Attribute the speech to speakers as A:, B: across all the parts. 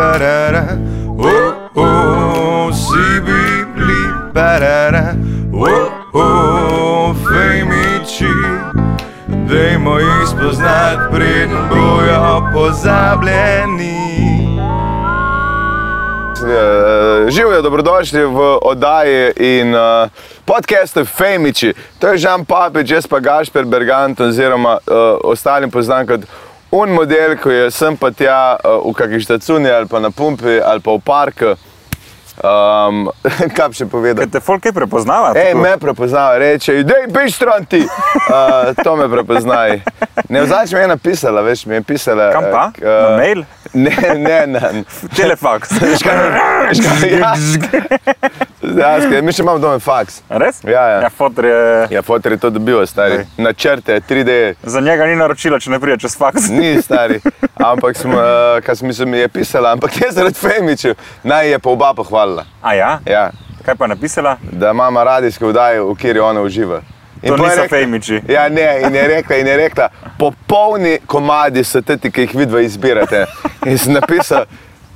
A: parara, oh oh, si bibli parara, oh oh, fejmiči, dajmo jih spoznat, preden bojo pozabljeni.
B: Eh, Živijo, dobrodošli v oddaji in uh, podcastu Femiči. To je Žan Papič, jaz pa Gašper Bergant, oziroma uh, ostalim poznan kot un model, ki je sem pa tja uh, v kakšni štacuni ali pa na pumpi ali pa v parku. Um, kaj bi še povedal?
C: Ker te folke prepoznava.
B: Ej, E,
C: tako.
B: me prepoznava, reče, idej, peš stran ti. Uh, to me prepoznaj. Ne vzač mi je napisala, veš, mi je pisala.
C: Kam pa?
B: eh, k, eh,
C: Na mail?
B: Ne, ne, ne.
C: Telefaks.
B: Ja. Zgledaj, mi še imamo doma faks.
C: Res?
B: Ja, ja.
C: ja fotor je.
B: Ja, fotor je to dobil, stari.
C: Ej.
B: Načrte, 3D.
C: Za njega ni naročila, če ne pride čez faks.
B: Ni stari, ampak sem, eh, kaj sem mislil, mi je pisala, ampak jaz zaradi Femičev, naj je pa oba pohvalila.
C: A ja?
B: Ja,
C: Kaj pa je napisala?
B: da mama radijske vdaje, v kateri ona uživa. In
C: To
B: pol je
C: niso
B: rekla-
C: fejmiči.
B: Ja, ne, in je rekla, in je rekla popolni komadi so ti, ki jih vidva izbirate. In sem napisal,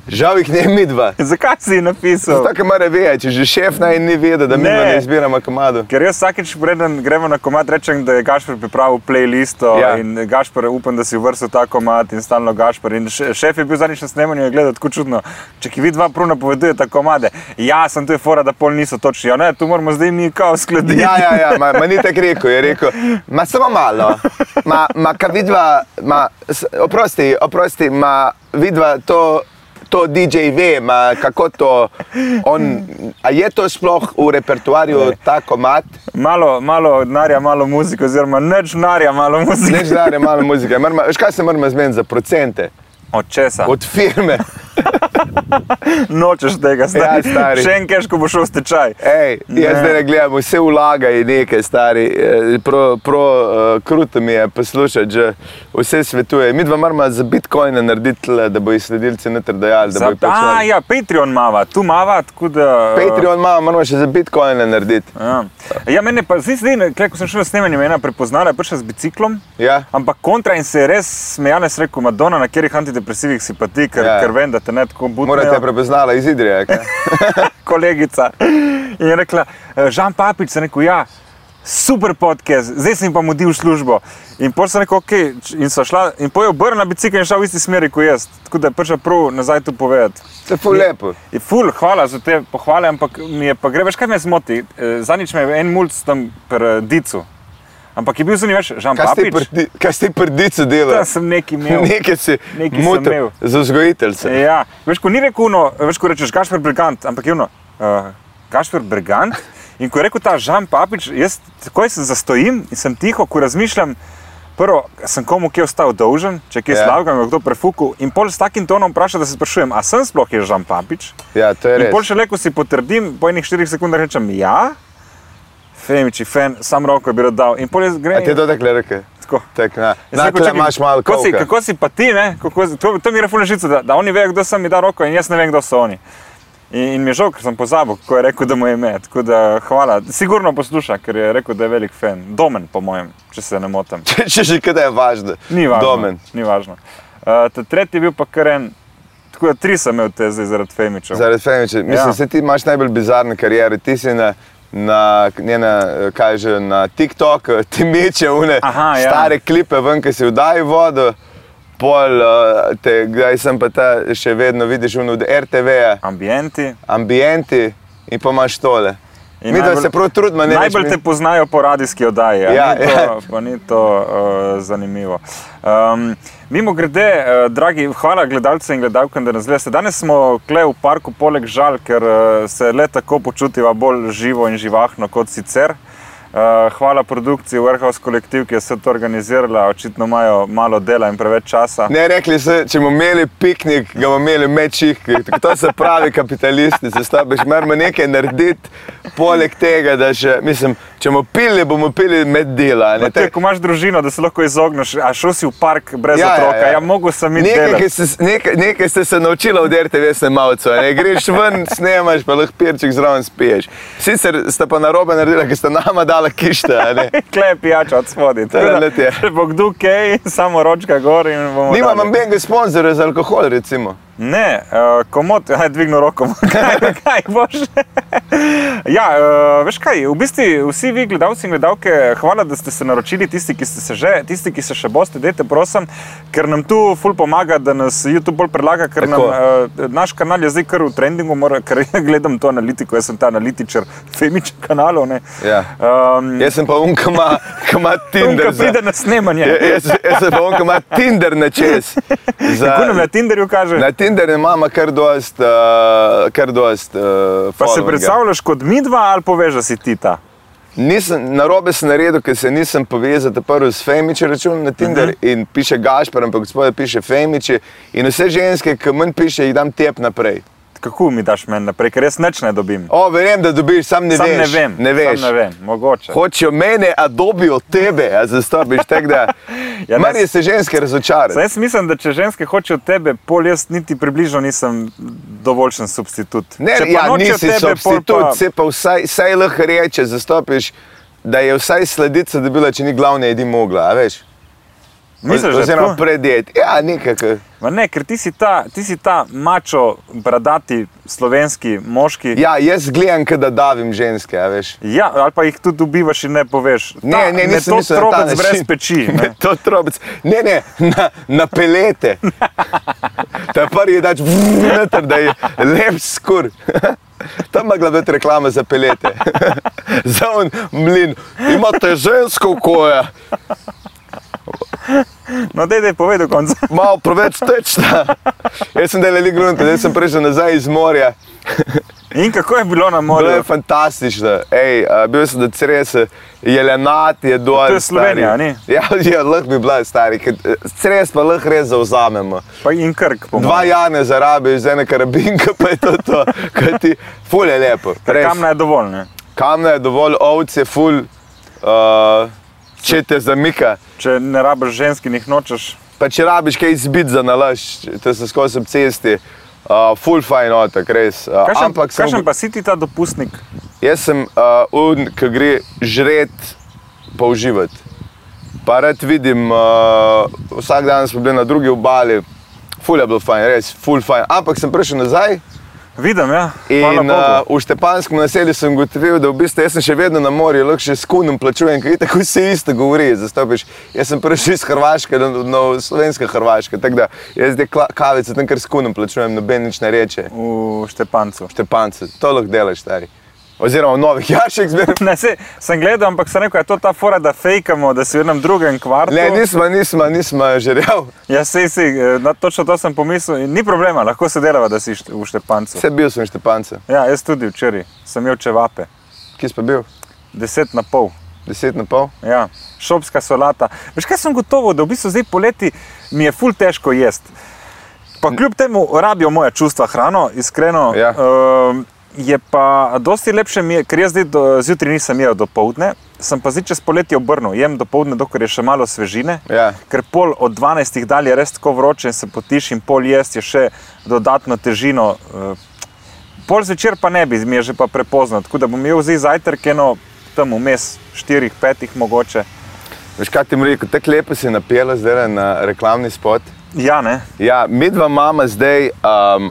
B: žal jih ne midva.
C: Zakaj si ji napisal?
B: Tako mora vedeti, če že šef naj ni vedel, da mi
C: Ne.
B: ne izbiramo komado.
C: Ker jaz vsakič, preden gremo na komat, rečem, da je Gašpor pripravil playlisto
B: Ja.
C: ja. in Gašpor, upam, da si vrsel ta komat in stalno Gašpor. In še- šef je bil zadnjič na snemanju in je gledal tako čudno, če ki vi dva pruna povedujete komade, ja, sem tu je fora, da pol niso točni, ja ne, tu moramo zdaj mi kao skladiti.
B: Ja, ja, ja, ma, ma ni tako rekel, je rekel, ma samo malo, ma, ma kaj vidva, ma, s- oprosti, oprosti, ma vidva to, to DJ ve, ma kako to, on, a je to sploh v repertuarju ta komad?
C: Malo, malo denarja, malo muzike, oziroma neč denarja, malo muzike.
B: Neč dare malo muzike, Moramo- veš kaj se moramo zmeniti za procente,
C: Od česa? Od...
B: od firme,
C: Nočeš
B: Ja,
C: tega, stari.
B: stari. E,
C: Še en keš, ko boš šel v stečaj.
B: Ej, jaz
C: Ne.
B: zdaj ne gledam, vse vlagaj nekaj, stari, eh, pro, pro uh, kruto mi je poslušati, že vse svetuje. Mi dva moramo za bitcoine narediti, tule, da bojo sledilci noter dajali, da bojo
C: A,
B: plačali.
C: ja, Patreon mava, tu mava, tako da... eh,
B: Patreon imamo, moramo še za bitcoine narediti.
C: Ja. ja, mene pa zdaj, zdaj ne, kaj, ko sem šel na snemanje, me je ena prepoznala, je prišla z biciklom.
B: Ja.
C: Ampak kontra in se je res smejala, sem rekel, Madonna, na katerih antidepresivih si pa ti, ker,
B: Ja.
C: ja. ker vem, da te ne tako budi.
B: Morate prepoznala iz Idrije.
C: Ja.
B: kaj?
C: kolegica. In je rekla, "Eh, Žan Papič, sem rekel, ja, super podcast, zdaj sem pa mudil v službo. In potem sem rekel, ok, č- in so šla, in potem je obrnila bicikl in šla v isti smeri kot jaz. Tako da je prišla prav nazaj tu povedati.
B: To je ful lepo.
C: Je ful, hvala za te pohvale, ampak mi je pa gre, veš kaj me zmoti. Eh, Zadnjič me je en mulc tam pri eh, Dicu. Ampak je bil zunaj več, Žan
B: Kaj si ti
C: Papič.
B: prdi- Kaj si ti prdico delal?
C: Tam sem nekaj imel.
B: Nekaj si
C: Nekaj sem
B: motil
C: imel.
B: za vzgojiteljce.
C: Ja, veš, ko ni rekel, no, veš, ko rečeš Gašpor Brigant, ampak je ono, uh, Gašpor Brigant. In ko je rekel ta Žan Papič, jaz takoj se zastojim in sem tiho, ko razmišljam. Prvo, sem komu kje ostal dolžen, če kje
B: Ja.
C: yeah. slabega, kdo prefukal. In pol s takim tonom vprašam, da se sprašujem, a sem sploh je Žan Papič?
B: Ja, to je
C: In
B: res.
C: pol še le, ko si potrdim, po enih štirih sekundah rečem ja, Femiči, fan, sam roko bi rad dal. In pol jaz
B: A ti je
C: grem.
B: to tako rekel?
C: Tako.
B: Tak, na,
C: Jaz
B: na
C: rekel,
B: tle
C: čakaj,
B: imaš malo
C: E, kako si,
B: koka.
C: kako si pa ti, ne? Kako, si- to, to mi je refulnešica, da, da oni vejo, kdo sem mi dal roko in jaz ne vem, kdo so oni. In, in mi je žal, ker sem pozabil, kako je rekel, da mu je ime. Tako da hvala. Sigurno posluša, ker je rekel, da je velik fan. Domen, po mojem, če se ne motim.
B: Če- Če že kaj je važno.
C: Ni
B: ja
C: važno.
B: Domen.
C: Ni važno. Uh, ta tretji je bil pa kar en, tako da tri sem imel te zdaj zaradi Femiča.
B: Zaradi Femiče, mislim,
C: Ja.
B: se ti imaš najbolj bizarne karijere, ti si na, na, ne na, kaj že, na TikTok, ti meče une
C: Aha, ja.
B: stare klipe ven, ki si vdaj vodo, pol, eh, te, kdaj sem pa ta še vedno vidiš une od RTV-ja,
C: Ambienti.
B: ambienti in pa imaš tole.
C: In
B: Mi da
C: najbolj-
B: se prav trudimo, ne
C: Najbolj
B: reč,
C: te poznajo po radijski oddaji,
B: Ja,
C: ja, ni to,
B: ja.
C: pa ni to uh, zanimivo. Um, mimo grede, uh, dragi, hvala gledalcem in gledalkam, da nas gledate. Danes smo kle v parku poleg žal, ker uh, se le tako počutiva bolj živo in živahno kot sicer. Uh, hvala produkciji Warehouse Collective, ki je vse to organizirala, očitno imajo malo dela in preveč časa.
B: Ne, rekli so, če bomo imeli piknik, ga bomo imeli v mečih. To so pravi kapitalisti, se stabiš, moramo nekaj narediti, poleg tega, da še, mislim, če bomo pili, bomo pili med dela. a ne,
C: Ne, te,
B: tako-
C: ko imaš družino, da se lahko izogneš, a šel si v park brez ja, otroka, ja, ja. ja mogel sem iti
B: Nekaj,
C: delat.
B: ki ste, s- nekaj, nekaj ste se naučili od RTV snemalcev. a Ne? Greš ven, snemaš, pa lahko pirček zraven spiješ. Sicer ste pa narobe naredili, ker ste nama dala kište. a ne.
C: Klej pijača od spodaj.
B: To je
C: Tako da,
B: let je.
C: Če bo kdo kaj, samo ročka gor in bomo.
B: Nimam
C: dali.
B: nobenega sponzorja za alkohol, recimo.
C: Ne, uh, komod, aj dvignil roko, kaj, kaj boš. ja, uh, veš kaj, v bistvu vsi vi, gledalci in gledalke, hvala, da ste se naročili, tisti, ki ste se že, tisti, ki se še boste, dajte prosim, ker nam tu ful pomaga, da nas YouTube bolj predlaga, ker nam,
B: Tako.
C: uh, naš kanal je zdaj kar v trendingu, mora, ker gledam to analitiko, jaz sem ta analitičar femičnih kanalov. ne.
B: Ja.
C: Um,
B: Jaz sem pa unkama, kama
C: Tam,
B: Tinder.
C: ko
B: za-
C: pride na snemanje,
B: Ja, Jaz, jaz sem pa unkama Tinder na čez. Za-
C: kako nam na Tinderju kaže.
B: Na Tinderju imamo kar dost, uh, kar dost uh,
C: Pa se
B: followinga.
C: predstavljaš kot midva ali poveš, da si ti ta?
B: Nisem, narobe sem naredil, ker se nisem povezal ta prvi s Femiči račun na Tinder uh
C: Mhm.
B: -huh. in piše Gašpar, ampak spodaj piše Femiči in vse ženske, ki meni piše, jih dam tep naprej.
C: Kako mi daš meni naprej, ker jaz nič ne dobim.
B: O, verjem, da dobiš, sam ne
C: Sam
B: veš.
C: ne vem,
B: Ne veš.
C: Sam ne vem, mogoče.
B: Hočejo mene, a dobijo tebe, a zastopiš tako da.
C: Ja,
B: ja,
C: ne,
B: Mari se ženske
C: Saj
B: razočarati.
C: jaz mislim, da če ženske hočejo tebe, pol jaz niti približno nisem dovoljšen substitut.
B: Ne,
C: če pa
B: ja,
C: nočejo
B: nisi
C: tebe, pol
B: substitut,
C: pa-
B: se pa vsaj, vsaj lahko reče, zastopiš, da je vsaj sledica dobila, če ni glavne jedi mogla, a veš.
C: Misliš, da
B: Oziroma
C: tako?
B: predjed. Ja, nekako.
C: Ma Ne, ker ti si, ta, ti si ta mačo, bradati slovenski moški.
B: Ja, jaz gledam, kada davim ženske, a veš.
C: Ja, ali pa jih tudi dobivaš in ne poveš.
B: Ne,
C: ta,
B: ne, nisem
C: to
B: mislil na ta
C: trobec brez
B: način.
C: peči. ne.
B: Ne, to trobec. Ne, ne, na, na pelete. Ta prvi je dač vnitr, da je lep skur. Tam ima glavno reklama za pelete. za on mlin. Imate žensko koja,
C: No, dej, dej, povej do konca.
B: malo preveč tečna. Jaz sem delal grunto, zdaj sem prišel nazaj iz morja.
C: In kako je bilo na
B: Bilo je
C: morju?
B: fantastično. Ej, a, bil sem na Cresu, jelenat je dol.
C: To je Slovenija,
B: stari.
C: ni?
B: Ja, ja lahko bi bila stari, ker eh, Cres pa lahko res zauzamemo.
C: Pa in krk, po
B: Dva
C: mojem.
B: jane zarabiš, z ene karabinke pa je to to, kaj ti, ful je lepo. res.
C: Kamna je dovolj. Ne?
B: Kamna je dovolj, ovce je ful, uh, če te zamika.
C: Če ne rabiš ženski, jih nočeš.
B: Pa če rabiš kaj izbit za nalaž, te se skozi ob cesti, uh, ful fajn otok, res. Uh,
C: Kakšen,
B: ampak sem
C: kakšen pa si ti ta dopustnik?
B: Jaz sem uh, un, ki gre žret, pa uživati. Pa rad vidim, uh, vsak dan smo bili na drugi obali, ful je bilo fajn, res, ful fajn. Ampak sem prišel nazaj
C: Vidim, ja. Hvala
B: in uh,
C: Bogu.
B: v Štepanskem naselju sem gotovil, da v bistvu jaz sem še vedno na morju, lahko še s kunom plačujem, ker tako se isto govori, zastopiš. Jaz sem prišel iz Hrvaške, na, na slovenska Hrvaška, tako da jaz zdaj kla- kavice tam kar s kunom plačujem, noben nič ne reče.
C: V Štepancu.
B: Štepance, to lahko delaš, stari. Oziroma v novih jašek zmeraj.
C: Ne, se, sem gledal, ampak sem rekel, da je to ta fora, da fejkamo, da si v enem drugem kvartu.
B: Ne, nismo, nismo, nismo žerjav,
C: Ja, sej si, eh, na točno to sem pomislil. in Ni problema, lahko se delava, da si št- v Štepancu.
B: vse bil sem štepanca.
C: Ja, jaz tudi včeraj sem imel čevape,
B: Kje si pa bil?
C: deset na pol.
B: Deset na pol?
C: Ja, šopska solata. Veš kaj sem gotovo, da v bistvu zdaj poleti mi je ful težko jesti. Pa kljub temu rabijo moja čustva hrano, iskreno.
B: Ja.
C: Ehm, je pa dosti lepše mi je, ker jaz zdaj do- zjutraj nisem jedel do povdne, sem pa zdaj čez poletje obrnil, jem do povdne, dokler je še malo svežine.
B: Ja.
C: Ker pol od 12 dalje je res tako vroče in se potiš, in pol jesti je še dodatno težino. eh, Pol zvečer pa ne bi, mi je že pa prepozno, tako da bom imel zdaj zajtrk eno tam vmes, 4-5 mogoče.
B: Veš kaj ti bom rekel, tako lepo si napela zdaj na reklamni spot.
C: Ja, ne.
B: Ja, midva mama zdaj um,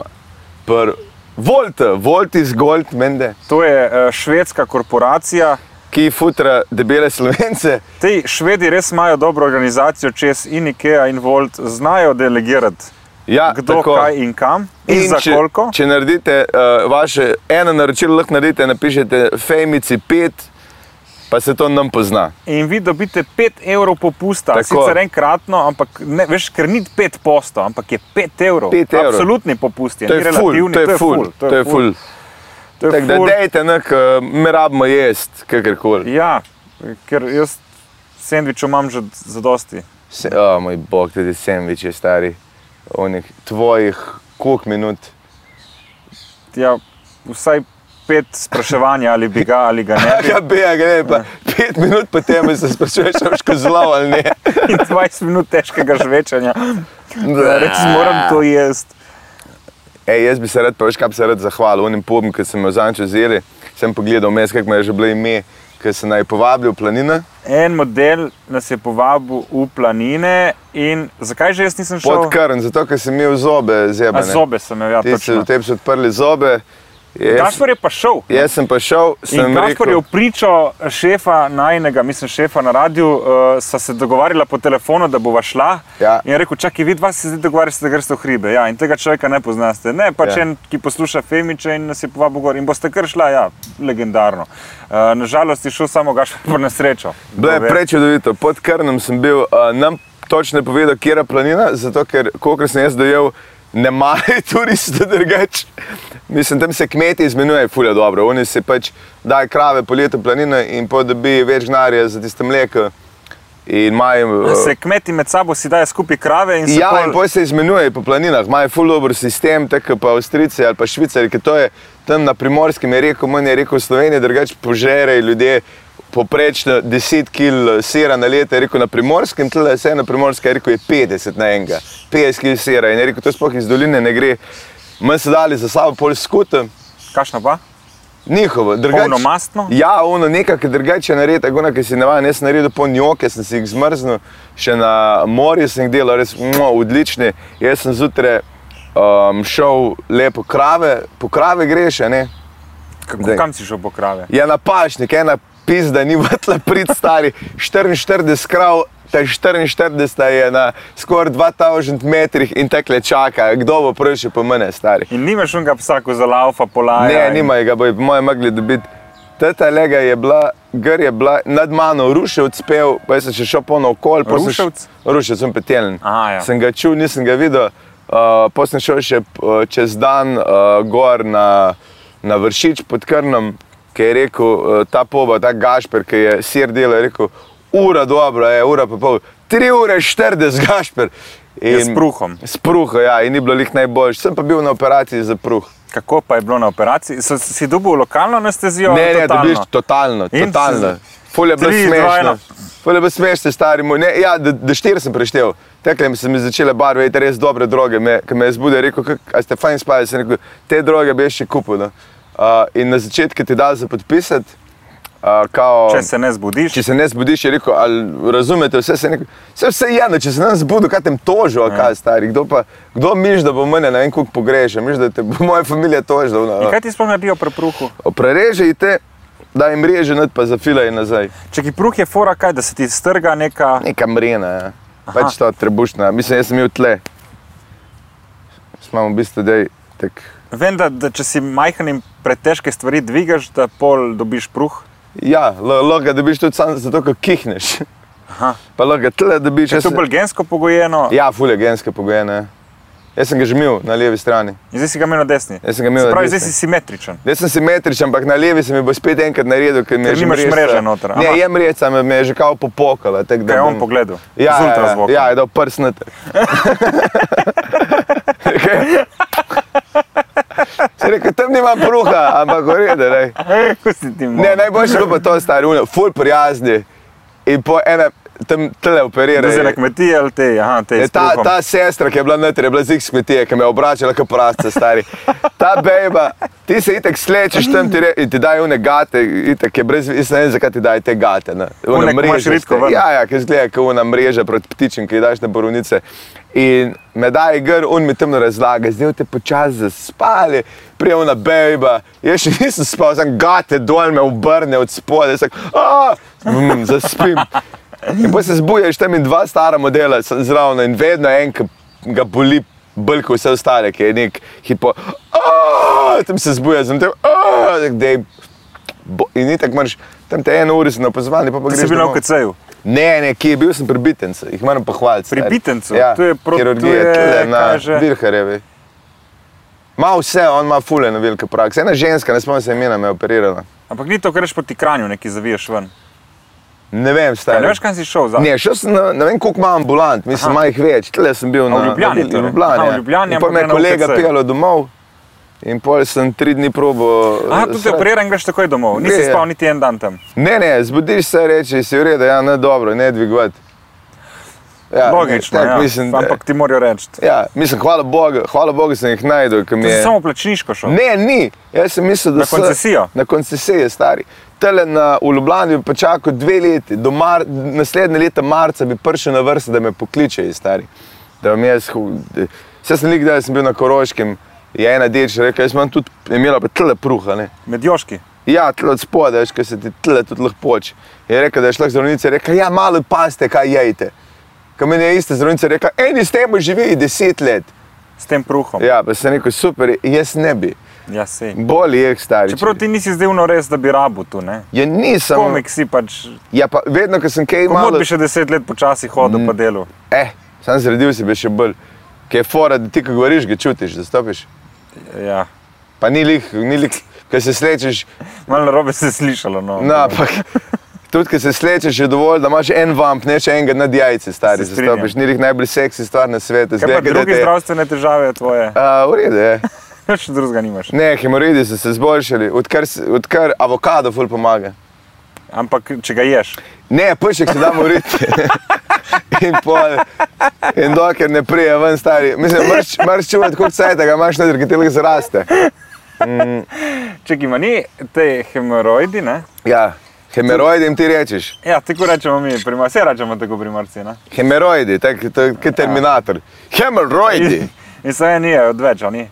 B: pr Volt, Volt iz Gold, mende,
C: To je eh, švedska korporacija.
B: ki futra debele slovence.
C: Ti švedi res imajo dobro organizacijo čez in IKEA in Volt, znajo delegirati,
B: Ja,
C: kdo,
B: tako.
C: Tako. kaj in kam in, in za
B: če,
C: koliko.
B: Če naredite uh, vaše eno naročilo, lahko naredite, napišete Femici 5, pa se to nam pozna.
C: In vi dobite 5 evrov popusta,
B: Tako.
C: Tako. sicer enkratno, ampak ne, veš, ker ni 5 posto, ampak je 5 evrov.
B: Pet evrov.
C: Absolutni popust je,
B: To
C: ni
B: je ful,
C: relativni,
B: to je ful, to je ful.
C: To je
B: Tako da
C: ful.
B: dejte, nek, eh, mi rabimo jesti, kakorkoli.
C: Ja, ker jaz sendvičo imam že za dosti.
B: Se, o, moj bog, tudi sandvič je stari, onih tvojih, koliko minut.
C: Ja, vsaj pet spraševanja, ali bi ga ali ga ne. bi.
B: Ja, bija, gre pa pet minut, potem se sprašuješ, če boš kozlov ali ne.
C: In 20 minut težkega žvečanja. Reč moram to jesti.
B: Ja. Ej, jaz bi se rad, pa veš, kaj bi se rad zahvalil, onim pobim, ki sem jo zančil zeli, sem pogledal mes, kako me je že bilo ime ki se naj povabi v planine.
C: En model nas je povabil v planine in zakaj že jaz nisem šel?
B: Pod krn, zato ker sem imel zobe
C: A,
B: zebane.
C: zobe sem imel, ja,
B: Ti si,
C: točno.
B: tebi so odprli zobe. Jaz,
C: Gašpor je pa šel.
B: jaz sem pa šel, sem
C: In Gašpor je
B: rekel,
C: v pričo šefa, najnega, mislim, šefa na radiju, uh, sta se dogovarjala po telefonu, da bova šla.
B: Ja.
C: In je rekel, čakaj, vi dva se zdaj dogovarjate, da greste v hribe. Ja, in tega človeka ne poznaste. Ne, pač
B: Ja.
C: ja. en, ki posluša Femiče in nas je povabil gor. In boste kar šla, ja, legendarno. Uh, nažalost je šel samo Gašpor na srečo.
B: bilo je
C: Kdo ve.
B: prečudovito. Pod krnom sem bil, uh, nam točno je povedal, kje je planina, zato ker, kolikor sem jaz dojel, ne marajo turistov drugač. Mislim, tam se kmeti izmenjujejo, fulja dobro. Oni se pač dajo krave po letu planine in podobi več gnarja za tiste mleko. In imajo... eh,
C: Se kmeti med sabo si dajo skupaj krave in se
B: Ja,
C: pol-
B: in poj se izmenjuje po planinah, imajo ful dober sistem, tako kot pa Avstrijci ali pa Švicari, ki to je tam na primorskem, je rekel, manj je rekel Slovenija, drugače požerejo ljudje poprečno 10 kg sira na leto, je rekel na primorskem, tle je vse na primorskem, je rekel je 50 na enega, 50 kg sira in je rekel, to sploh iz doline ne gre. Manj so dali za sabo pol skutem,
C: Kakšna pa?
B: njihovo, drugače.
C: Polnomastno?
B: Ja, ono nekaj, ki drugače naredi, agona, ki si navaden, jaz sem naredil po njoke, sem si jih zmrznil, še na morju sem jih delal, res mmo, odlični. Jaz sem zjutraj um, šel lepo krave, po krave greš, a ne?
C: Kako,
B: Daj.
C: kam si šel po krave?
B: Je na pašnik, ena pizda, ni vatla prid stari, 44 krav, ta 44 je na skoraj 2000 metrih in tekle čaka, kdo bo prišel po mene, stari.
C: In nimaš unga psa, ko zalaufa pola.
B: Ne, nimajo ga, bojo po mojem mogli dobiti. Teta lega je bila, gr je bila nad mano, ruševc pev, pa jaz sem še šel polno okol. pol sem še-
C: Ruševc?
B: Ruševc, sem peteljen.
C: Aha, ja.
B: Sem ga čul, nisem ga videl. Uh, Potem sem šel še uh, čez dan uh, gor na, na vršič pod Krnom, ki je rekel, uh, ta poba, ta Gašper, ki je sir delal, je rekel, ura dobra, je ura pa pol, tri ure 40 Gašper.
C: Je s pruhom.
B: S pruhom, ja, in ni bilo lih najboljši. Sem pa bil na operaciji za pruh.
C: Kako pa je bilo na operaciji? So, si dobil lokalno anestezijo?
B: Ne, ne,
C: totalno?
B: dobiš totalno,
C: In
B: totalno.
C: se-
B: Ful je bilo
C: Tri, dva,
B: smešno.
C: ena.
B: Ful je bilo smešno, stari moj. Ne, ja, do, do štiri sem preštel. Tekle so mi začele barve, ej, res dobre droge. Me, ko me je zbudil, je rekel, "Kak- a ste fajn spali, sem rekel, te droge bi jaz še kupil. No. Uh, in na začetku ti da za podpisati, uh, kao,
C: Če se ne zbudiš,
B: če se ne zbudiš, je rekel, ali razumete, vse se neko, vse, vse je eno, če se nam zbudi, kaj tem tožil,
C: Ja.
B: a kaj stari, kdo pa, kdo miš, da bo mene na en kuk pogrešal, miš, da te bo moja familija tožila. no, ono,
C: In kaj ti sploh naredijo pri pruhu?
B: Prerežite, da jim reže not, pa zafilaj nazaj.
C: Če ti pruh je fora, kaj, da se ti strga neka.
B: Neka mrena, ja. pač ta trebušna, mislim, jaz sem imel tle. Smo v bistvu dej, tak.
C: Vem, da, da če si majhen in pretežke stvari dvigaš, da pol dobiš pruh.
B: Ja, lo- loga dobiš tudi sam zato, ker kihneš.
C: Aha.
B: Pa loga tle dobiš.
C: Je
B: jaz
C: to
B: sem-
C: bolj gensko pogojeno,
B: Ja, fulje genske pogojene. ja. Jaz sem ga že imel na levi strani.
C: in zdaj si ga imel na desni.
B: Jaz sem ga imel
C: Se
B: na
C: pravi,
B: desni.
C: zdaj si simetričen.
B: Jaz sem simetričen, ampak na levi se mi bo spet enkrat naredil, ker mi je
C: Ker
B: že
C: nimaš
B: mreža-
C: mreže noter,
B: Ne,
C: aha.
B: je mreža, me me je že kao popokala. tako da
C: Kaj je on
B: bom-
C: pogledal?
B: Ja,
C: Z
B: ja,
C: ultrazvokom.
B: Ja, ja, je dal prst noter. Se reče, tam nima bruha, ampak urede. Ne,
C: Ko si ti
B: ne
C: moj.
B: najboljše je bilo pa to stari, unijo, ful prijazni. In po enem tam tele
C: Zdaj si na
B: operirajo.
C: kmetiji ali te, aha, te.
B: Ne,
C: s
B: ta,
C: pruhom.
B: ta sestra, ki je bila noter, je bila zig smetije, ki me je obračala kot prasta, stari. Ta beba, ti se itek slečeš tam ti re, in ti dajo une gate, itek je brez, jaz ne vem, zakaj ti dajo te gate. ne. One
C: One, ko imaš
B: mrežaste.
C: redko ven.
B: Ja, ja, ki zgleda kot una mreža proti ptičem, ki jih daš na borovnice. In me daje gr, on mi temno razlaga, zdaj te počasi zaspali, prej ona beba, jaz še nisem spal, sem gate dol me obrne od spodaj, sem, "Ah, mm, zaspim. In potem se zbudiš, tam in dva stara modela sta zraven in vedno en, ki ga boli, bolj kot vse ostale, ki je nek hipo. "Aaa!" Tam se zbudiš, tam te je. In ni tako marš, tam te eno uro si na opazovanju, pa, pa
C: Ti
B: greš.
C: si bil na
B: domov.
C: UKC-ju.
B: Ne, ne, kje je bil, sem pri Bitencu, jih moram pohvaliti. stari.
C: Pri Bitencu?
B: Ja,
C: To je pro-
B: kirurgija,
C: to je,
B: tule na
C: kaj že?
B: Vilharjevi. Ma vse, on ima fule na velike prakse. Ena ženska, ne spomnim se imena, me je operirala.
C: Ampak ni to, ker greš proti kranju, neki zaviješ ven.
B: Ne vem,
C: Ja,
B: stari.
C: ne veš, kam si šel za.
B: Ne, šel sem na ne vem koliko ima ambulant, mislim, ima jih več. Tle sem bil na
C: v Ljubljani
B: na,
C: torej?
B: Ljubljani,
C: Aha, v
B: ja.
C: Ljubljani,
B: In pol
C: ampak
B: me je
C: ne na
B: kolega
C: UKC-ju.
B: peljal domov in pol sem tri dni probo.
C: Aha, tudi operiran greš takoj domov, nisi
B: Gre, ja.
C: spal niti en dan tam.
B: Ne, ne, zbudiš se, rečeš si v redu, ja, ne dobro, ne dvigovati. Ja,
C: Logično,
B: tako
C: ja.
B: mislim,
C: ampak ti morajo reči.
B: ja, mislim, hvala Bogu, hvala Bogu sem jih najdel, ker mi
C: Ti si
B: je.
C: samo plačniško šel.
B: Ne, ni. Jaz sem mislil, da
C: Na
B: so-
C: koncesijo?
B: Na koncesijo, stari. tele na v Ljubljani, bi pa čakal dve leti, do mar, naslednje leta marca bi prišel na vrsto, da me pokličejo stari. Da bom jaz, hu- da- saj sem nikdaj, sem bil na Koroškem, je ena dirča rekla, jaz imam tudi, imela pa tele pruha, ne.
C: Medjoški.
B: Ja, tle od spoda, veš, kaj se ti tle tudi lahko poč. Je rekel, da je šla k zdravnici, je rekel, ja, malo paste, kaj jejte. Kaj meni je ista zdravnica rekla, eni s tem živi deset let.
C: S tem pruhom.
B: Ja, pa sem rekel, super, jaz ne bi.
C: Ja, sej.
B: Boli je stari.
C: Čeprav ti nisi zdaj uno res, da bi rabu tu, ne?
B: Ja, nisem.
C: Komik si pač,
B: Ja, pa vedno, ko sem kaj
C: komod
B: malo.
C: bi še deset let počasi hodil po delu.
B: Eh, sam zredil si bi še bolj. Kaj je fora, da ti, ko govoriš, ga čutiš, da stopiš.
C: Ja.
B: Pa ni lih, ni lih, ko se slečeš,
C: Malo narobe se je slišalo, no.
B: no, ampak tudi, ko se slečeš, je dovolj, da imaš en vamp, ne še enega nad jajci, stari,
C: Se
B: da
C: strinjam.
B: stopiš. Ni lih najbolj seksi stvar na svetu.
C: Kaj pa
B: Zgleda, da
C: druge
B: te-
C: zdravstvene težave tvoje?
B: A, v redu je.
C: Še drugega nimaš.
B: Ne, hemoroidi so se zboljšali, odkar, s- odkar avokado ful pomaga.
C: Ampak če ga ješ.
B: Ne, pešek se da moriti. In, pol- in dokler ne prije ven, stari, mislim, moraš čuvati, koliko cajt, ga imaš noter, ki ti lahko zraste.
C: Če ima ni te hemoroidi, ne?
B: Ja, hemeroidi jim ti rečeš.
C: Ja, tako rečemo mi, primar, vse rečemo tako primarci, ne?
B: Hemeroidi, tako kot terminator. Hemeroidi.
C: In se en je odveč, ali ni?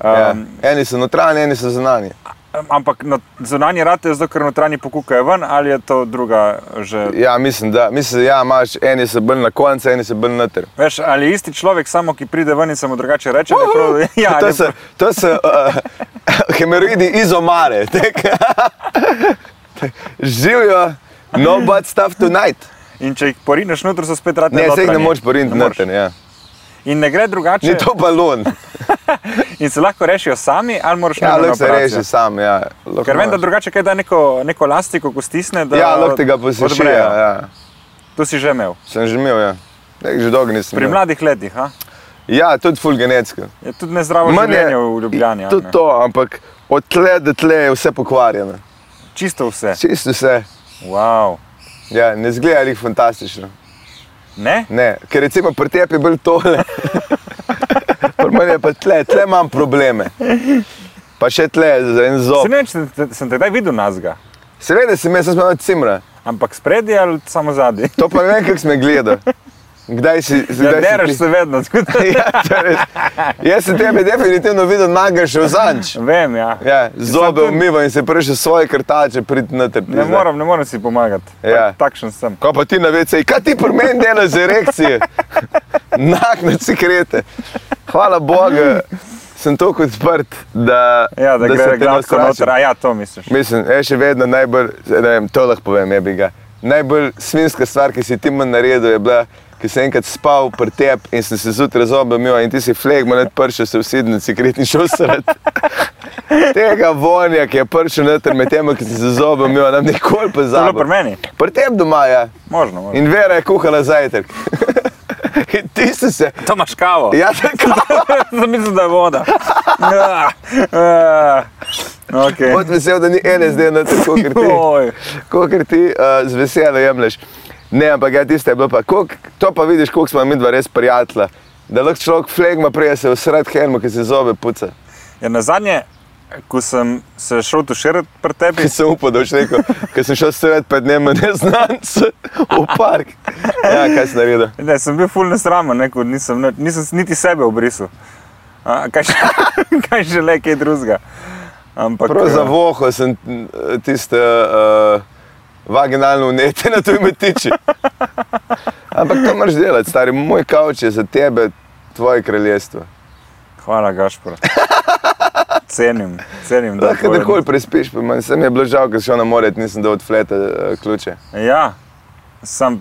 B: Ja,
C: Um,
B: eni so notranji, eni so zunanji.
C: ja. Ampak na- zunanje rate je zato, ker notranji pokukajo ven, ali je to druga že
B: Ja, mislim, da mislim, ja, imaš, eni so bolj na koncu, eni so bolj noter.
C: Veš, ali je isti človek, samo ki pride ven in se mu drugače reče, da je prav. Ja,
B: to
C: ali-
B: so, to so uh, hemeroidi iz omare. tako. Živijo, no bad stuff tonight.
C: In če jih porineš noter, so spet ratne.
B: Ne, se jih ne
C: notranji.
B: moreš poriniti
C: Ne moreš.
B: noter. Ja.
C: In ne gre drugače.
B: Ni to balon,
C: In se lahko rešijo sami, ali moraš
B: ja,
C: nujno na
B: lahko se
C: operacijo.
B: reši sam. Ja, lahko
C: Ker vem, da
B: imaš.
C: drugače kaj da neko, neko lastiko, ko stisne. Da
B: Ja, lahko tega poslušaš.
C: odbrejo.
B: Ja.
C: To si že imel.
B: Sem že imel, ja. Nek že dolgo nisem.
C: Pri
B: imel.
C: mladih letih, a?
B: Ja, tudi full genetsko.
C: je tudi nezdravo
B: Manj je-
C: življenje v Ljubljani. a
B: Tudi
C: ne?
B: to, ampak od tle do tle je vse pokvarjeno.
C: Čisto vse.
B: Čisto vse.
C: Wow.
B: Ja, ne zgleda jih fantastično.
C: Ne?
B: Ne, ker recimo pri tebi je bolj tole. Pri meni je pa tle, tle imam probleme. Pa še tle za en
C: Se
B: zob.
C: ne vem, če sem- sem tedaj videl nazga,
B: Seveda sem jaz, sem imel cimra.
C: ampak spredi ali samo zadnji.
B: To pa ne vem, kako sem gledal. Kdaj si,
C: Ja,
B: kdaj si
C: dereš
B: ti-
C: se vedno, tako da
B: ja, to je res. Jaz sem tebe definitivno videl naga še v zanč.
C: vem, ja.
B: Ja, zobe
C: Sam to-
B: umiva in se prešel svoje krtače, prid na te
C: Ne moram, ne morem si pomagati.
B: Ja.
C: Ja. Takšen sem.
B: Ko pa ti na vece, kaj ti pri meni dela z erekcije? Nakne cikrete. Hvala Bogu, sem tako odprt, da,
C: Ja, da, da
B: se
C: gre
B: te ne
C: gladko
B: odkračim.
C: noter. A ja, to misliš.
B: Mislim, je še vedno najbolj, ne vem, to lahko povem, je bi ga. Najbolj svinska stvar, ki si ti manj naredil, je bila, ki sem enkrat spal pri tebi in sem se zjutraj zobe umil in ti si flegma nad pršil, se usedel na cigaretni šosrat. Tega vonja, ki je pršil noter med tem, ki si se zobe umil, nam nikoli
C: To je bilo pri
B: pozabil.
C: meni.
B: Pri tebi doma, ja.
C: Možno, možno.
B: In Vera je kuhala zajtrk. In ti si se,
C: To imaš kavo.
B: ja, tako.
C: Sem mislil, da je voda. Ja. Ja.
B: Bodi
C: Okay.
B: vesel, da ni ene zdaj na tako, ker ti.
C: Oj.
B: Kolikor ti uh, z veselo jemliš. Ne, ampak ja, tiste je bilo pa. Kolik, to pa vidiš, koliko smo mi dva res prijatelja. Da lahko človek flegma prije se usred helmu, ki se zobe puca.
C: Ja, na zadnje, ko sem se šel tuširati pri tebi,
B: Ki sem upal, da boš rekel, ker sem šel sred pred dnem neznanca v park. Ja, kaj si naredil?
C: ne, sem bil ful nesramen, ne, ko nisem, nič- nisem niti sebe obrisal. A, Kaj še, kaj še le, kaj drugega. Ampak,
B: Prav
C: eh,
B: za voho sem eh, tiste uh, vaginalno unete na tuj metiči. Ampak to moraš delati, stari, moj kavč je za tebe, tvoje kraljestvo.
C: Hvala, Gašpor. Cenim, cenim, da
B: Lahko
C: povedno.
B: kdorkoli prespiš, pa manj, sem je bilo žal, ker sem šel na more, nisem dal od fleta eh, ključe.
C: Ja, sem,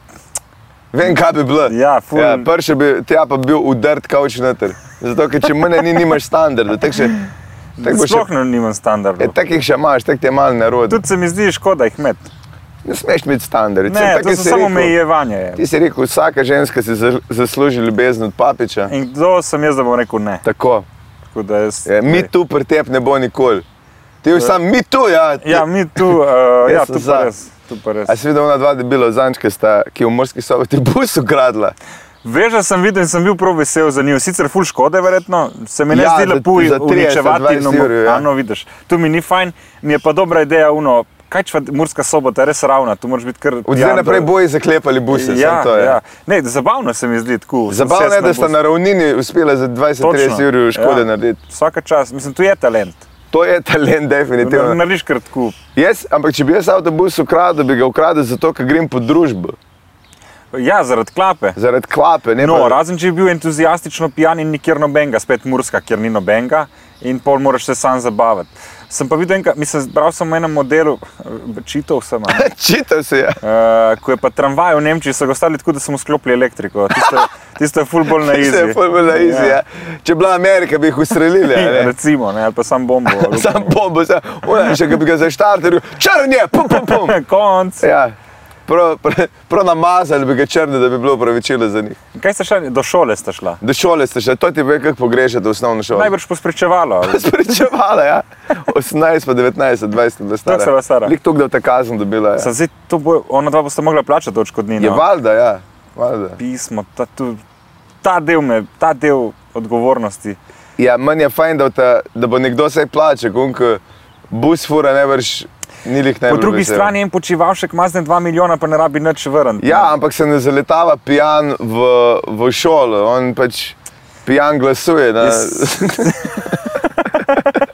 B: Vem, kaj bi bilo.
C: Ja, ful.
B: ja prši bi, tja pa bil udrt kavč noter. Zato, ker če mene ni, nimaš standarda. Tak še, tak bo
C: sploh
B: še,
C: ne nimam
B: e,
C: standardov.
B: tak jih še imaš, tak ti je malo narodno.
C: Tudi se mi zdi škoda jih imeti.
B: Ne smeš imeti standard.
C: Ne, to so samo omejevanje. je.
B: Ti si rekel, vsaka ženska si za- zasluži ljubezen od papiča.
C: In kdo sem jaz, da bom rekel ne?
B: Tako.
C: Tako da jaz,
B: Je, E, mi tu pri tebi ne bo nikoli. Ti si sam mi tu, ja. ti-
C: Ja, mi tu, uh, ja,
B: Jaz sem
C: tu
B: za.
C: pa res. Tu pa res.
B: A si videl ona dva debila zančka, sta, ki v morski sobi ti bus ukradla?
C: Veže sem videl in sem bil prav vesel za njo. Sicer ful škode, verjetno, se mi ne
B: Ja,
C: zdi
B: za-
C: lepo
B: za 30,
C: uničevati no,
B: 20 evrov, ja.
C: ano, vidiš. Tu mi ni fajn, mi je pa dobra ideja uno kaj če Murska sobota, res ravna, tu moraš biti kar.
B: Od zdaj naprej boji zaklepali buse.
C: Ja,
B: samo to je.
C: ja. Ne, zabavno se mi zdi tako.
B: Zabavno je,
C: sesna
B: da sta
C: bus.
B: na ravnini uspela za 20-30
C: Točno,
B: ur škode
C: ja.
B: ja. narediti.
C: Vsaka čas, mislim, tu je talent.
B: To je talent, definitivno.
C: Narediš kar tako.
B: Jaz, ampak če bi jaz avtobus ukradel, bi ga ukradel zato, ker grem po družbo,
C: Ja, zaradi klape.
B: zaradi klape. Ne,
C: No,
B: pa-
C: razen če bi bil entuzijastično pijan in nikjer nobenega, spet Murska, kjer ni nobenega in pol moraš se sam zabavati. Sem pa videl, enkrat- mislim, bral sem v enem modelu, eh, čital sem, a ne.
B: Čital si je.
C: Eh, ko je pa tramvaj v Nemčiji, so ga ostali tako, da so mu sklopili elektriko. Tisto, tisto je fullbol na
B: Se je
C: izjiv.
B: formula izja. Ja. Če bi bila Amerika, bi jih ustrelili. a ne.
C: Recimo, Ja, ne, ali pa sam bombo.
B: ja, Sam bombo, sam, Ona, še ki bi ga zaštartil, črn je, pum, pum, pum.
C: Konc.
B: Ja. Prav pre, prav namazali bi ga črne, da bi bilo pravičilo za njih.
C: Kaj ste šla? Do šole ste šla.
B: Do šole ste šli, to ti ve, kako pogrešate osnovno šolo.
C: Najbrž posprečevalo.
B: Spričevala, ja. 18, pa 19, 20, da stara.
C: Tako se bila stara.
B: Lik tok, da je ta kazen dobila. Ja.
C: Sam zdaj to bo, ona dva bosta mogla plačati
B: Je
C: odškodnino.
B: valjda, ja. Valjda.
C: Pismo, ta, tu, ta del me, ta del odgovornosti.
B: Ja, manj je fajn, da, ta, da bo nekdo vsaj plače, kunk bus fura ne vrš, ni lih ne
C: Po
B: bi
C: drugi
B: vesel.
C: strani en počivalšek mazne 2 milijona, pa ne rabi nič vrniti.
B: Ja, ampak se ne zaletava pijan v, v šolo, on pač pijan glasuje. Na...
C: Jaz-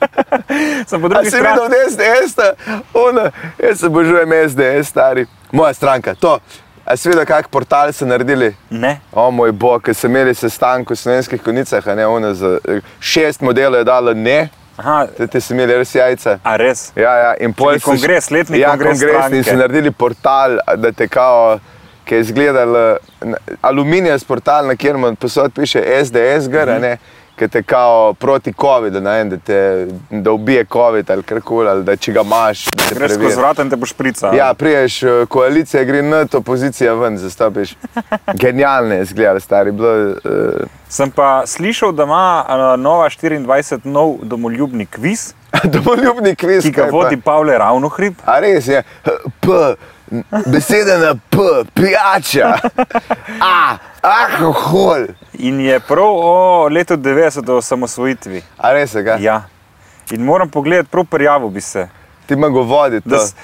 C: Sem po
B: A
C: drugi
B: si
C: strani.
B: videl od SDS, -a? ona, jaz se božujem SDS, stari. Moja stranka, to. A si videl, kak portal so naredili?
C: Ne.
B: O moj bog, ker sem imel sestanek v slovenskih konicah, a ne ona za eh, šest modelov je dala ne,
C: Aha,
B: te, te sem imel res jajca.
C: a res.
B: Ja, ja, in pol
C: Čakaj,
B: so š-
C: kongres, letni
B: ja,
C: kongres
B: kongresni
C: stranke.
B: so naredili portal, da te kao, ki je izgledal aluminijast portal, na katerem posod piše SDS, gor,
C: Mhm.
B: a ne, ki te kao proti COVID-u, ne vem, da, te, da ubije COVID ali karkoli, ali da če ga imaš, da te
C: Greš
B: preveri.
C: skozi vrata in te boš prica.
B: Ja, priješ, eh, koalicija gre na to, opozicija ven, zastopiš. Genialne je izgledalo, stari. Bilo, uh,
C: Sem pa slišal, da ima eh, Nova 24 nov domoljubni kviz,
B: domoljubni kviz.
C: ki ga
B: kaj pa.
C: vodi Pavle Ravnohrib.
B: A res je, P, beseda na P, pijača, A, alkohol.
C: In je prav o letu 90 o osamosvojitvi.
B: A res je, ga?
C: Ja. In moram pogledati, prav prijavil bi se.
B: ti ima govori to.
C: Da s-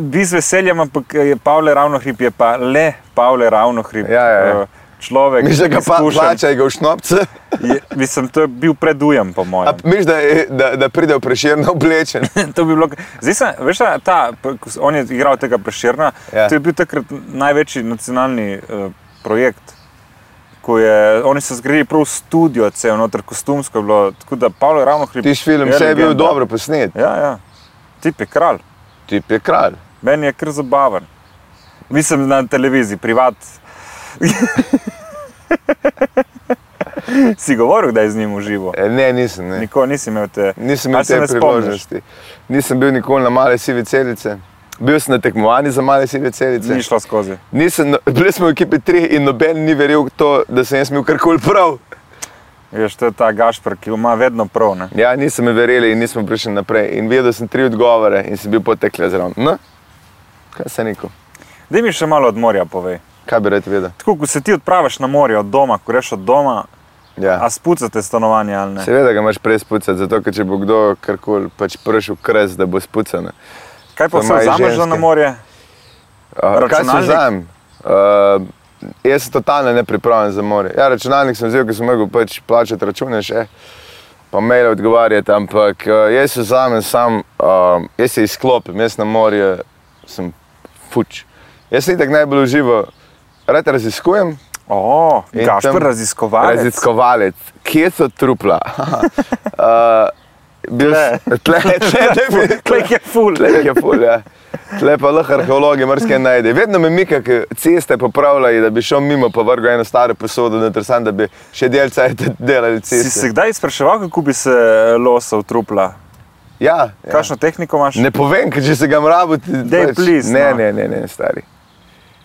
C: Bi z veseljem, ampak eh, je Pavle Ravnohrib, je pa le Pavle Ravnohrib.
B: Ja, ja, ja.
C: eh, Človek,
B: Miš, da ga pa
C: izkušen.
B: plačaj ga v šnopce,
C: Je, mislim, to je bil predujem, po
B: a
C: mojem.
B: miš, da, je- da, da pride v preširno oblečen.
C: To bi bilo, zdaj sem, veš, ta- ta, ko s- on je igral tega preširna.
B: Ja.
C: Ja. To je bil takrat največji nacionalni uh, projekt. ko Je, oni so zgradili prav studio, cel noter kostumsko je bilo, tako da Pavlo ravno hribi.
B: Tiš film, vse je bil dobro posnet,
C: Ja, ja. Tip je kralj,
B: tip je kralj.
C: meni je kar zabaven. Mislim na televiziji, privat. si govoril, da je z njim uživo.
B: E, ne, nisem. Ne.
C: Nikoli nisi imel te.
B: Nisem
C: Ali
B: imel
C: se
B: te
C: ne spomniš?
B: priložnosti. Nisem bil nikoli na male sive celice. Bil sem na tekmovanju za male sive celice.
C: Ni šlo skozi.
B: Nisem, no, bili smo v ekipi 3 in noben ni verjel, v to, da sem jaz imel karkoli prav.
C: Veš, to je ta Gašpr, ki ima vedno prav. Ne?
B: Ja, nisem me verjeli in nismo prišli naprej. In vedel sem tri odgovore in sem bil potekle zraven. No, kaj se neko,
C: Daj mi še malo od morja povej.
B: kaj bi rad vedel.
C: Tako, ko se ti odpraviš na morje od doma, ko greš od doma, a
B: Ja.
C: spucate stanovanje ali ne?
B: Seveda ga imaš prej spucati, zato ker če bo kdo karkoli pač prišel kres, da bo spucan.
C: Kaj
B: To
C: pa se
B: imajo
C: vzameš za
B: ženske.
C: na morje?
B: Kaj se
C: Računalnik?
B: vzamem? Uh, jaz sem totalno nepripravljen za more. Ja, računalnik sem vzel, ker sem mogel pač plačati račune še, pa mail odgovarjati, ampak uh, jaz se vzamem sam, uh, jaz se izklopim, jaz na morju sem fuč. Jaz se tako najbolj uživam, rad raziskujem.
C: O,
B: in
C: Gašpr,
B: tam-
C: raziskovalec.
B: Raziskovalec, kje so trupla? uh, bil,
C: Tle.
B: tle, tle, tle,
C: Tleh je ful.
B: Tle jih je ful, ja. Tle pa lahko arheologi marsikaj najdejo. Vedno me mika, ker ceste popravljajo, da bi šel mimo, pa vrgo eno staro posodo, da trsam, da bi še del cajt delali
C: Si se
B: ceste.
C: kdaj spraševal, kako bi se losal trupla?
B: Ja, ja.
C: Kakšno tehniko imaš?
B: Ne povem, ker če se ga mrabu, ti
C: Daj, please,
B: ne,
C: no.
B: ne, ne, ne, stari.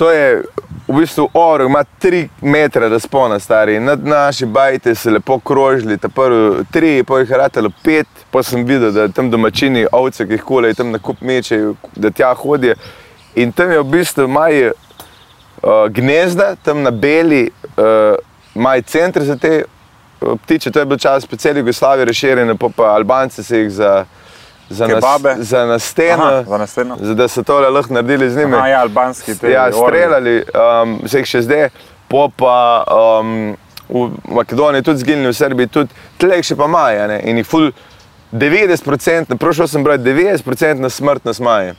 B: To je v bistvu orog, ima 3 metra razpona, stari. Nad naši bajte se lepo krožili, ta prvi 3, pa jih je ratalo 5, pa sem videl, da tam domačini ovce, ki jih kulejo, tam na kup mečejo, da tja hodijo. In tam je v bistvu maj uh, gnezda, tam na beli, uh, maj center za te uh, ptiče. To je bil čas po celi Jugoslaviji razširjeno, pa, pa Albanci se jih za, za,
C: Kebabe.
B: nas, za nasteno,
C: Aha, za naslednjo.
B: za- da so tole lahko naredili z njimi.
C: Aha, ja, albanski te
B: Ja,
C: orli.
B: streljali, um, se jih še zdaj, po pa um, v Makedoniji tudi zginili, v Srbiji tudi, tleh še pa maja. Ne? In jih ful 90%, prošel sem brati 90% smrtnost maje.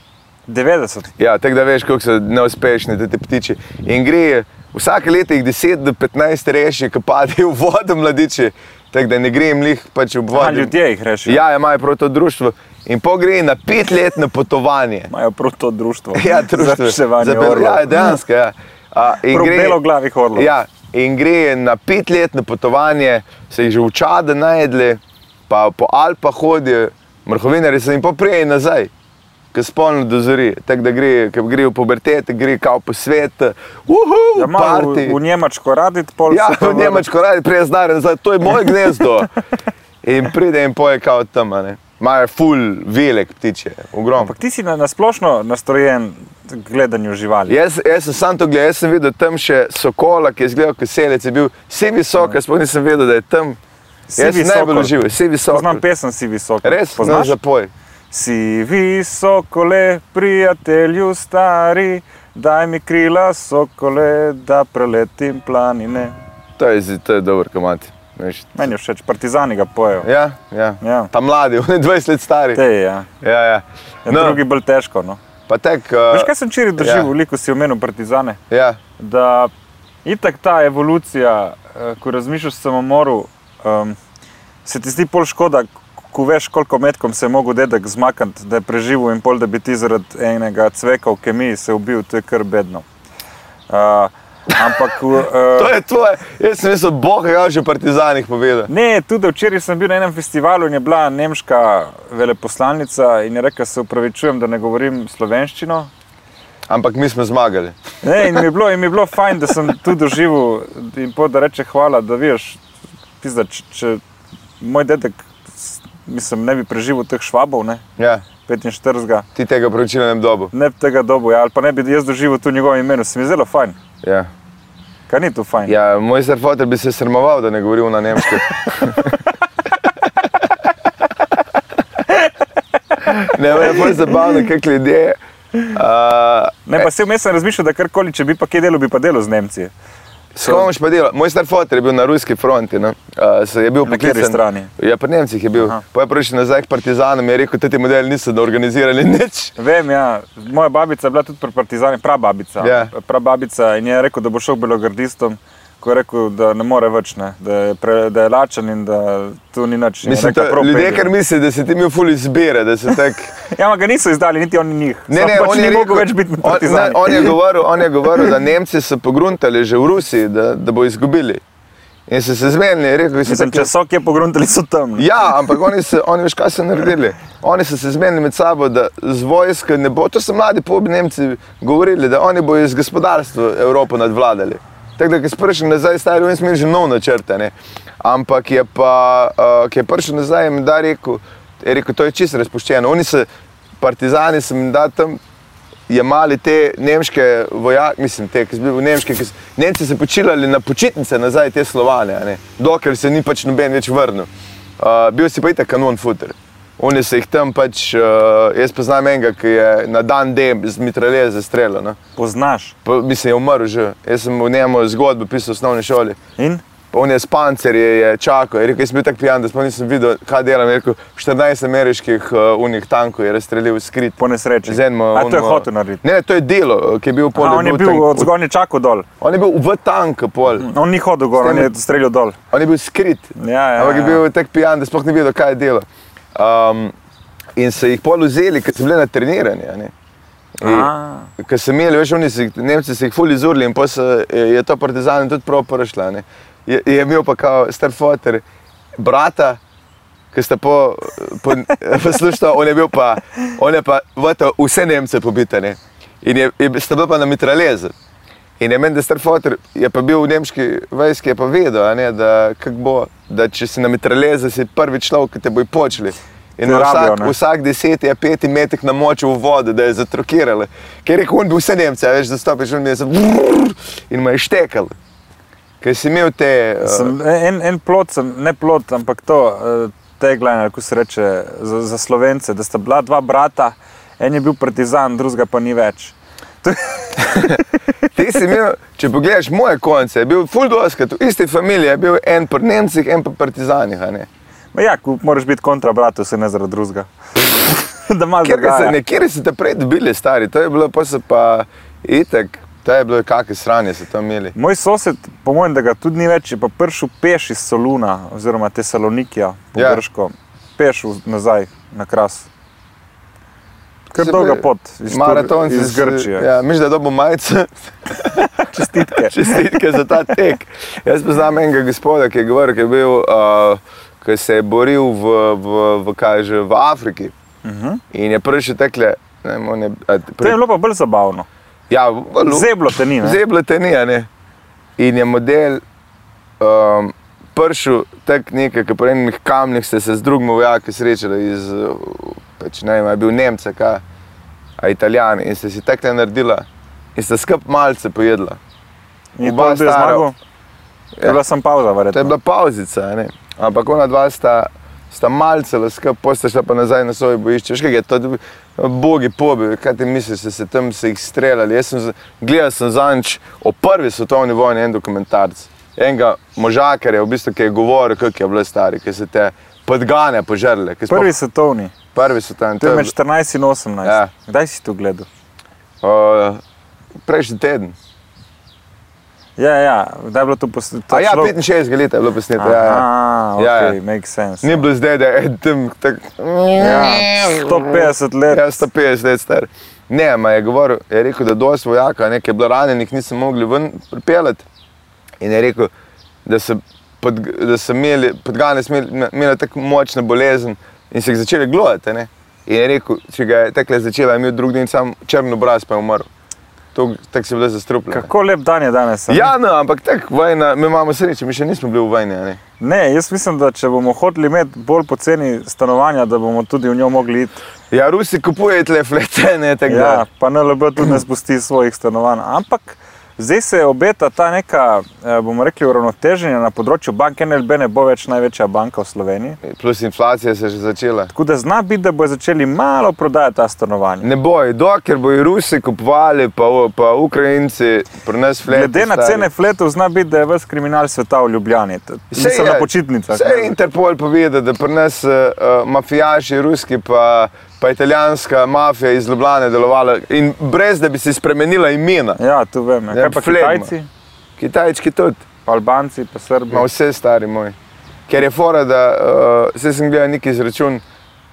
C: 90.
B: Ja, tako da veš, kako so neuspešni ti, ti ptiči. In gre, vsake leto jih 10 do 15 reši, ki padejo v vodo mladiči, tako da ne gre jim lih pač ob
C: A,
B: vodi.
C: ljudje jih rešijo.
B: Ja, imajo prav to društvo. In po gre na petletno potovanje.
C: Imajo prav to društvo.
B: Ja, društvo.
C: Zapiševanje
B: Za bel-
C: orlov.
B: Ja, dejansko, ja. A, in
C: Prav
B: gre-
C: beloglavih orlov.
B: Ja, in gre na petletno potovanje, se jih že v Čadu najedli, pa po Alpah hodijo, mrhovinari se jim poprej nazaj. Ki spolno dozori, tako da gre, ko gre v pubertet, gre kao po svet, uhu,
C: Da ima
B: party.
C: Ja, v, v Njemačko raditi pol
B: Ja,
C: se pa
B: v
C: vrne.
B: Njemačko radi prej znaren, zdaj to je moje gnezdo. In pride in poje kao tam, a ne. Imajo ful velik ptiče, ogromno.
C: Ampak ti si na, na splošno nastrojen k gledanju živali.
B: Jaz, jaz sem sam to gledal, jaz sem videl tam še sokola, ki je izgledal kot selec, je bil vsi visok, jaz sploh nisem vedel, da je tam. Jaz
C: Sivi
B: sem najbolj
C: sokol.
B: užival, vsi visok.
C: Poznam pesem Si visoko.
B: Res, no,
C: poznaš?
B: zapoj.
C: Si visokole, prijatelju stari, daj mi krila sokole, da preletim planine.
B: To je, zi- to je dober komat. veš.
C: Meni je všeč, partizani ga pojejo.
B: Ja, ja.
C: Ja.
B: Ta mladi, oni 20 let stari.
C: Te je, ja.
B: Ja, ja.
C: ja no.
B: No,
C: drugi bolj težko. No.
B: pa tek,
C: Veš,
B: uh,
C: kaj sem včeraj držal,
B: ja.
C: ja. veliko si omenil partizane.
B: ja,
C: Da itak ta evolucija, eh, ko razmišljaš o samomoru, um, se ti zdi pol škoda, ko veš, koliko metkom se je mogel dedek zmakniti, da je preživel in pol, da bi ti zaradi enega cveka v kemiji se ubil, to je kar bedno. Uh, ampak,
B: to
C: uh,
B: je tvoje. Jaz sem mislil, boh, kaj že o partizanih povedal.
C: ne, tudi včeraj sem bil na enem festivalu in je bila nemška veleposlanica in je rekla, se upravičujem, da ne govorim slovenščino,
B: Ampak mi smo zmagali.
C: Ne, in mi je bilo, in mi je bilo fajn, da sem tu doživel in pol, da reče hvala, da veš, pizda, če, če moj dedek, s- mislim, ne bi preživel teh švabov, ne,
B: Ja,
C: 45,
B: ti tega preučila ne bi dobil.
C: ne bi tega dobil, ja, ali pa ne bi jaz doživel tu njegovo imenu, se mi je zelo fajn.
B: Ja.
C: Kaj ni tu fajn?
B: Ja, moj srfoter bi se sramoval, da ne govoril na nemško. ne, me je bolj zabavno, kako ljudje. Uh,
C: Ne, pa se vmes sem razmišljal, da karkoli, če bi pa kje delo, bi pa delo z Nemci.
B: S kom boš pa delal? Moj starfoter je bil na ruski fronti. No? Uh, se je bil
C: Na kateri
B: poklican-
C: strani?
B: Ja, pri Nemcih je bil.
C: Aha.
B: Pa je prišel nazaj k partizanom in je rekel, da ti modeli niso da organizirali nič.
C: Vem, ja, moja babica je bila tudi pri Partizani, prababica.
B: Ja.
C: Prababica in je rekel, da bo šel belogardistom, ko je rekel, da ne more več, ne, da, je pre, da je lačen in da tu ni nič. In je
B: Mislim,
C: rekla,
B: to,
C: "Prav
B: ljudje
C: pelje."
B: kar mislijo, da se ti mi ful izbira, da se tak...
C: Ja, ampak ga niso izdali, niti oni njih.
B: Ne,
C: Samo
B: ne,
C: pač
B: on
C: ni
B: je
C: mogel
B: rekel,
C: več biti na
B: on, ne,
C: Partizani.
B: on, je govoril, on je govoril, da Nemci so pogruntali že v Rusiji, da, da bo izgubili. In so se zmenili, je rekel, so
C: Mislim,
B: tako,
C: če so kje pogruntali, so tam. ne.
B: Ja, ampak oni so, oni veš, kaj so naredili. Oni so se zmenili med sabo, da z vojsko ne bo, to so mladi pobi Nemci govorili, da oni bodo iz gospodarstva Evropo nadvladali. Tako da, ki si prišel nazaj, stari, oni smo imeli že nov načrte, ne. ampak je pa, uh, ki je prišel nazaj, jim da rekel, je rekel, to je čisto razpuščeno. Oni so, partizani, sem da tam jemali te nemške vojake, mislim, te, ki so bili nemški, ki so, Nemci so počilali na počitnice nazaj te Slovane, a ne, dokler se ni pač noben več vrnil. Uh, bil si pa itak kanon futer. Oni so jih tam pač, uh, jaz poznam enega, ki je na dan D z mitralje zastrelil. No.
C: Poznaš.
B: Pa, mislim, je umrl že. Jaz sem o njemu zgodbo pisal v osnovni šoli.
C: In?
B: Pa On je s pancerjem je čakal, je rekel, jaz sem bil tako pijan, da sploh nisem videl, kaj delam. Je rekel, 14 ameriških uh, unih tankov je razstrelil skrit.
C: Po nesreči.
B: Z enim, uh,
C: A to je
B: onim, uh,
C: hotel narediti.
B: Ne, ne, to je delo, ki je bil
C: Aha,
B: poleg
C: on je
B: tank-
C: bil od zgornje čakal dol.
B: on je bil v tanku, pol.
C: On ni hodil gor, on je streljal dol.
B: on je bil skrit.
C: Ja, ja,
B: Ampak je
C: ja.
B: bil tako pijan, da sploh ni vedel, kaj je delo. Um, in so jih pol vzeli, ker so bili na treniranju. a ne. In-
C: A.
B: Ker so imeli, veš, oni so jih- Nemci so jih fuli zurli in pa so, je je to partizan tudi prav prešla. ne. Je, je imel pa kao starfoter, brata, ki sta po, po, poslušala, on je bil pa, on je pa vata, vse Nemce pobitane. In je, je, sta bila pa na mitraleze. In je meni, da star fotor je pa bil v nemški vojski, je pa vedel, a ne, da, kako bo, da če si na mitraleze, si prvi človek, ki te boji počeli. In
C: Te rabijo,
B: vsak,
C: ne?
B: vsak deseti, je peti metek namočil v vodo, da je zatrokirala. Ker je rekel, on bi vse Nemce, a veš, zastopiš, on je se vrrr in mu je štekal. Ker si imel te... eh,
C: Sem, en, en plot, sem, ne plot, ampak to, tegline, kako se reče, za, za slovence, da sta bila dva brata, en je bil partizan, drugega pa ni več.
B: Ti si imel, če pogledaš moje konce, je bil full doskrat, v isti familiji je bil en pri Nemcih, en pri Partizanih. a ne.
C: Ma ja, ko moraš biti kontra bratu, se ne zaradi drugega. da malo
B: Kjer ga se-
C: drugače.
B: Nekje so te prej dobili, stari, to je bilo pa se pa itek, to je bilo kakšne sranje so tam imeli.
C: Moj sosed, po mojem, da ga tudi ni več, je pa prišel peš iz Soluna, oziroma te Salonikija, po
B: Ja.
C: ja. Grško, peš v- nazaj na kras. Kar
B: Se
C: dolga
B: bi-
C: pot, iz, Tur-
B: Maratonci
C: iz
B: so-
C: Grčije. Ja.
B: Ja, misliš, da dobo majice,
C: Čestitke.
B: čestitke za ta tek. Jaz poznam enega gospoda, ki je govoril, ki je bil, uh, ki se je boril v, v, v, kaj že, v Afriki. Uh -huh. In je prišel tekle, ne vem, on je, a,
C: Mhm. To je
B: pri,
C: bilo pa bolj zabavno.
B: ja, v, v,
C: Zeblo te ni, ne?
B: Zeblo te ni, a ne. In je model um, pršil tako nekaj, ki po enih kamnih ste se z drugim vojakom srečali, iz, eh, pač, ne vem, a je bil Nemce, ka, a Italijan in ste si tako naredila in ste skup malce pojedla.
C: In
B: Oba
C: pa zdaj
B: stara.
C: zmagal.
B: Ja.
C: Je bila sem pauza,
B: To je
C: verjetno.
B: bila pauzica, a ne. ampak ona dva sta, sta malce skup, posta šla pa nazaj na svoje bojišče. Veš, kaj je to, bogi pobi, kaj ti misliš, da se tam se jih streljali. Jaz sem z- gledal sem zanč o prvi svetovni vojni en dokumentarc. Enega možakarja, v bistvu, ki je govoril, kako je bilo stari, ki se te podgane požrle. ki sploh-
C: Prvi svetovni,
B: prvi svetovni
C: to je
B: to je
C: med 14 in 18.
B: Ja.
C: Ja. Kdaj si to gledal?
B: bilo, eh, Prejšnji teden.
C: Ja, ja, kdaj je bilo to posneto?
B: A ja, 65 let je bilo posneto. Ja, ja.
C: Aha,
B: Ja,
C: ok,
B: ja.
C: make sense.
B: Ni bilo zdaj, da je en tam tako.
C: Ja, 150 let.
B: Ja, 150 let star. Ne, ma je govoril, je rekel, da dosti vojaka, nekaj je bilo ranjenih, nisem mogli ven pripeljati. In je rekel, da so, pod, da so imeli, podgane imeli tako močno bolezen in se jih začeli glodati. a ne. In je rekel, če ga je tekle začela, je imel drugi dan sam črn obraz, pa je umrl. To- Tako se je bilo zastrupljeno.
C: Kako lep dan je danes. a ne?
B: Ja, no, ampak tako vojna, mi imamo srečo, mi še nismo bili v vojni. a ne.
C: Ne, jaz mislim, da če bomo hoteli imeti bolj poceni stanovanja, da bomo tudi v njo mogli iti.
B: Ja, Rusi kupujejo tle fletene, tako da.
C: Ja, pa NLB tudi ne spusti svojih stanovanj. Ampak zdaj se obeta ta neka, eh, bomo rekli, uravnoteženje na področju bank. NLB ne bo več največja banka v Sloveniji.
B: Plus inflacija se je že začela.
C: Tako da zna biti, da bodo začeli malo prodajati ta stanovanja.
B: Ne bojo, dokler bojo Rusi kupovali, pa, pa Ukrajinci pri nas flete.
C: Glede na
B: stari.
C: cene fletov, zna biti, da je ves kriminal sveta v Ljubljani. T-
B: Saj
C: Mislim
B: je.
C: na počitnicah.
B: Saj je Interpol povedal, da pri nas uh, uh, mafijaši, ruski pa, pa italijanska mafija iz Ljubljana delovala in brez da bi si spremenila imena.
C: Ja, tu vem. Ja.
B: Ja,
C: Kaj pa
B: flegma.
C: Kitajci,
B: Kitajčki tudi,
C: pa Albanci, pa Srbi.
B: ima vse stari moj. Ker je fora, da uh, se sem gledal neki izračun,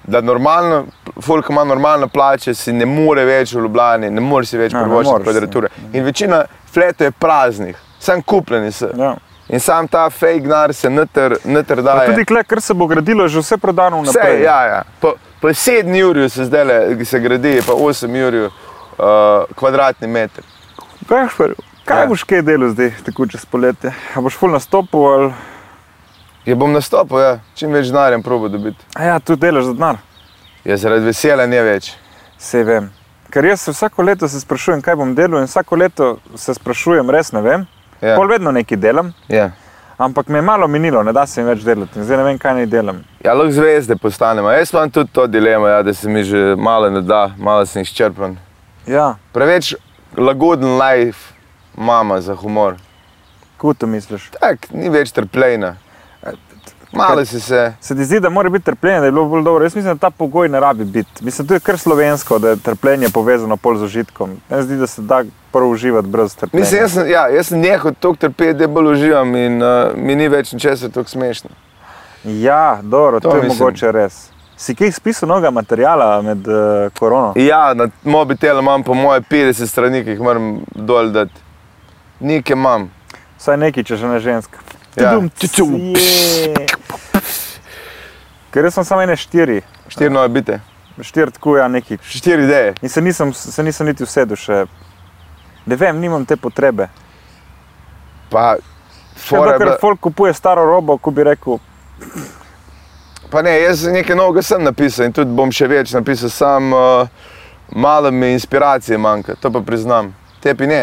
B: da normalno, folk ki ima normalno plače, si ne more več v Ljubljani, ne more si več
C: Ja, ne
B: privoščiti
C: moreš si.
B: kvadrature. In večina fletov je praznih, sam kupljeni so.
C: Ja.
B: In sam ta fake denar se noter, noter
C: Pa
B: daje.
C: Tudi kle, ker se bo gradilo, je že vse prodano
B: Vse,
C: vnaprej.
B: ja, ja. Po, po 7 urju se zdaj le, se gradi, pa 8 urju uh, kvadratni meter.
C: Kašper, kaj
B: Ja.
C: ja. boš kaj delal zdaj, tako čez poletje? A boš full nastopil ali
B: Je bom nastopil, ja. čim več denarja probo dobiti.
C: A ja, tu delaš za denar?
B: Je zaradi veselja ne več.
C: Vse vem. Ker jaz se vsako leto se sprašujem, kaj bom delal in vsako leto se sprašujem, res ne vem.
B: Ja.
C: Ja. Pol vedno nekaj delam,
B: Ja.
C: ampak me je malo minilo, ne da se mi več delati. in Zdaj ne vem, kaj naj delam.
B: Ja, lahko zvezde postanemo. Jaz imam tudi to dilemo, ja, da se mi že malo ne da, malo sem izčrpan.
C: Ja,
B: Preveč lagoden life mama za humor.
C: kako to misliš?
B: Tak, ni več trpljenja. Malo si se.
C: Se ti zdi, da mora biti trpljenje, da je bilo bolj dobro? Jaz mislim, da ta pogoj ne rabi biti. Mislim, da je kar slovensko, da je trpljenje povezano pol z užitkom. Meni se zdi, da se da prav uživati brez trpljenja.
B: Mislim, jaz sem, ja, jaz sem nehal toliko trpeti, da bolj uživam in uh, mi ni več ničesar tako smešno.
C: Ja, dobro,
B: To
C: to, to je
B: mislim.
C: mogoče res. Si kaj spisal novega materijala med uh, korono?
B: Ja, na mobitelu imam po moje 50 strani, ki jih moram dol dati. Nike imam.
C: Vsaj nekaj, če že ne ženska.
B: Ja.
C: Tudum,
B: Tčum.
C: je. Ker jaz sem samo ene štiri.
B: Štiri nove bite.
C: štiri tkuja neki.
B: Štiri ideje.
C: In se nisem, se nisem niti usedel še. Ne vem, nimam te potrebe.
B: Pa,
C: Če
B: fora je bila-
C: kar folk kupuje staro robo, ko bi rekel,
B: Pa ne, jaz nekaj novega sem napisal in tudi bom še več napisal, sam uh, malo mi inspiracije manjka, to pa priznam. Tebi ne.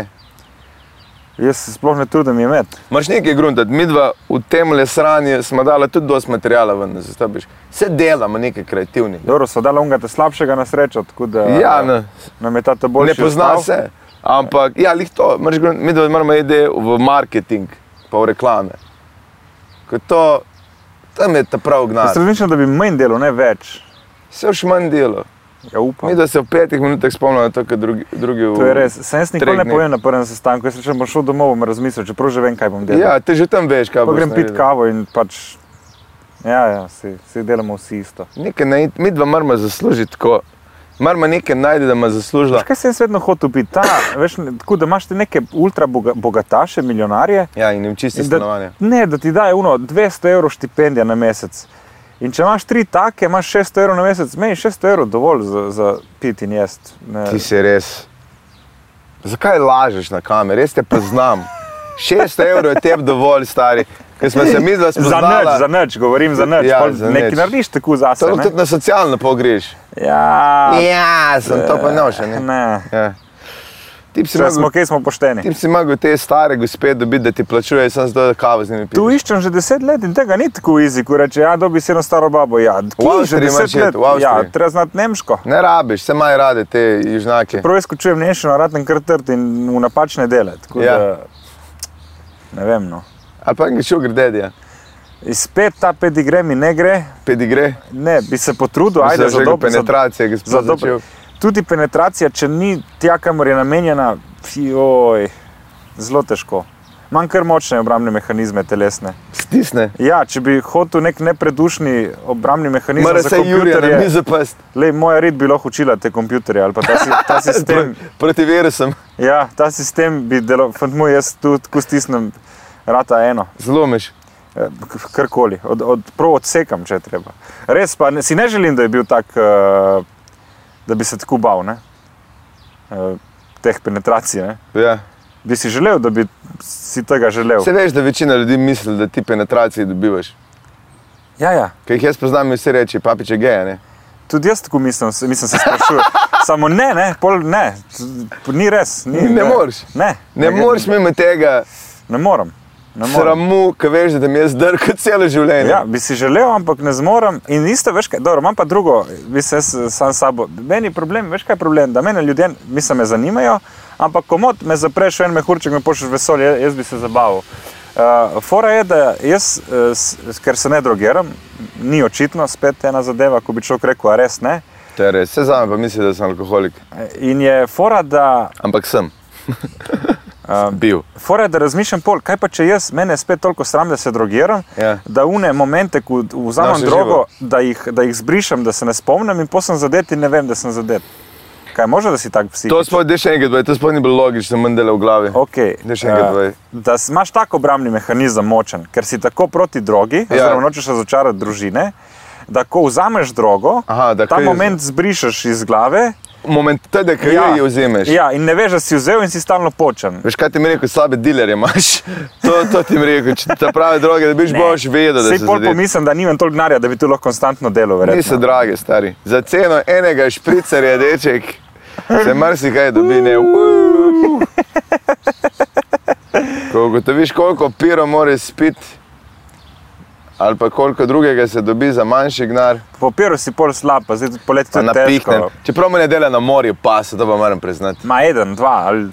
C: jaz se sploh ne trudim imeti.
B: Máš nekaj gruntati, midva v tem le sranju smo dala tudi dosti materijala ven, zastabiš. Vse delamo nekaj kreativnega.
C: Dobro, so dala ungate slabšega na srečo, tako da
B: Ja, ne,
C: nam je ta ta bolj
B: ne pozna se, ampak ja, lih to, imaš grunt, midva moramo ide v marketing, pa v reklame. Ker to, tam je ta prav
C: Jaz
B: gnar.
C: razmišljam, da bi manj delal, ne več.
B: Vse v šmanj delo.
C: Ja, upam.
B: Mi da se v petih minutah spomnimo, to, kar drugi, drugi v...
C: To je res. Sem jaz nikoli
B: treh
C: ne
B: dneh.
C: povem na prvem sestanku, jaz rečem, bom šel domov, bom razmislil, čeprav že vem, kaj bom delal.
B: Ja, te že tam veš, kaj
C: pa
B: boš
C: grem pit
B: naredil.
C: kavo in pač. Ja, ja, si, si delamo vsi isto.
B: Nekaj naj- Mi dva moramo zaslužiti tako. Moramo nekaj najti, da ima zaslužila.
C: Veš, kaj sem jaz vedno hotel biti? Ta, veš, ne- tako da imaš te neke ultra boga, bogataše, milijonarje.
B: Ja, in jim čisti
C: in
B: stanovanje.
C: Da, ne, da ti dajo uno, 200 evrov štipendija na mesec. In če imaš tri take, imaš 600 evrov na mesec, meni je 600 evrov dovolj za, za pit in jesti. Ne.
B: Ti si res. Zakaj lažeš na kameri? Res te poznam. 600 evrov je tebi dovolj, stari. Ker smo se mi dva
C: Za nič, za
B: spoznali.
C: nič, govorim za nič.
B: Ja,
C: Ja,
B: za
C: Nekaj
B: nič.
C: narediš tako za
B: To
C: sebe.
B: lahko tudi na socialno pogreš.
C: Ja,
B: Ja, sem to pa noče. Ne?
C: ne.
B: Ja. Ti si
C: Če smo,
B: mogel-
C: kaj smo pošteni.
B: ti si mogel te stare gospe dobiti, da ti plačuje, sem zdaj kavo z njimi pil.
C: Tu iščem že deset let in tega ni tako easy, ko reče, ja, dobi si eno staro babo. Ja, kje že
B: Avstriji imaš
C: deset
B: jet,
C: let?
B: v Avstriji.
C: Ja, treba znati nemško.
B: Ne rabiš, se maj rade te južnake.
C: Prvo jaz kočujem nemščino, raten kar trd in v napačne dele. tako
B: Ja.
C: da, Ne vem. No.
B: Ali pa nekaj šugr dedja,
C: In spet ta pedigre mi ne gre,
B: pedigre.
C: ne, bi se potrudil,
B: Mislim,
C: ajde
B: že
C: za dobro. za-
B: penetracije, ki smo
C: za dobro.
B: začeli.
C: Tudi penetracija, če ni tja, kamor je namenjena, joj, zelo težko. Manj kar močne obrambne mehanizme telesne.
B: Stisne.
C: Ja, če bi hotel nek nepredušni obrambni mehanizem,
B: Mora
C: za
B: se Jurija na
C: kompjuterje,
B: mizo past.
C: Lej, moja rit bi lahko učila te kompjuterje ali pa ta, si, ta sistem.
B: Proti virusom.
C: Ja, ta sistem bi delal, fant moj, jaz tu tako stisnem, rata eno,
B: Zlomiš.
C: eh, k- karkoli, od, od, prav odsekam, če je treba. Res pa ne, si ne želim, da je bil tak, eh, da bi se tako bal, ne? Eh, teh penetracij. Ne?
B: Ja.
C: Bi si želel, da bi si tega želel.
B: Se veš, da večina ljudi misli, da ti penetracije dobivaš.
C: Ja, ja.
B: Ker jih jaz poznam, mi vsi reči, papiče geja. Ne?
C: Tudi jaz tako mislim, se- mislim se sprašujem. Samo ne, ne, pol ne, ni res. Ni,
B: Ne moreš.
C: Ne,
B: ne moreš mimo tega
C: Ne morem. Ne morem.
B: sramu, ki veš, da te mi je zdrka celo življenje.
C: Ja, bi si želel, ampak ne zmorem. In isto, veš, kaj, dobro, imam pa drugo, bi se jaz eh, sam s sabo. Meni je problem, veš kaj je problem, da mene ljudje, mislim, me zanimajo, ampak komod me zapreš v en mehurček in pošlješ v vesolje, jaz bi se zabaval. Uh, fora je, da jaz, uh, s, ker se ne drogiram, ni očitno spet ena zadeva, ko bi človek rekel, a res ne. Eh,
B: To je res, se zame pa misli, da sem alkoholik.
C: In je fora, da
B: Ampak sem. Bil.
C: Fora je, da razmišljam pol, kaj pa če jaz, mene je spet toliko sram, da se drogiram,
B: Ja.
C: da une momente, ko
B: Daš
C: vzamem
B: v
C: drogo,
B: živo.
C: da jih, da jih zbrišem, da se ne spomnim in posem zadet in ne vem, da sem zadet. Kaj može, da si tak psi?
B: To sploh ni še enkrat, dvaj, to sploh ni bilo logično, mendele v glavi.
C: Okay,
B: Daj še enkrat povej.
C: eh, da s- imaš tako obrambni mehanizem močen, ker si tako proti drogi,
B: Ja.
C: ja. oziroma nočeš razočarati družine, da ko vzameš drogo,
B: Aha, da
C: ta
B: kaj-
C: moment zbrišeš iz glave.
B: Moment, tede, ki ja. jo vzameš.
C: ja, in ne veš, da si vzel in si stalno počen.
B: Veš, kaj ti mi rekel, slabe dilerje imaš? To, to ti mi rekel, če te prave droge, da biš boš vedel, da
C: Sej
B: se
C: pol
B: zadeti.
C: pomislim, da nimam toliko denarja, da bi tu lahko konstantno delal. verjetno.
B: Niso drage, stari. Za ceno enega špricarja, deček, se marsikaj dobi. Ne? Uuu. Ko ugotoviš, koliko piro moraš spiti, ali pa koliko drugega se dobi za manjši gnar,
C: Popiru si pol slab, pa zdaj poleti
B: pa
C: tudi
B: napihnem.
C: težko.
B: Čeprav me ne dela na morju, pa se to pa moram priznati.
C: Ma en, dva, ali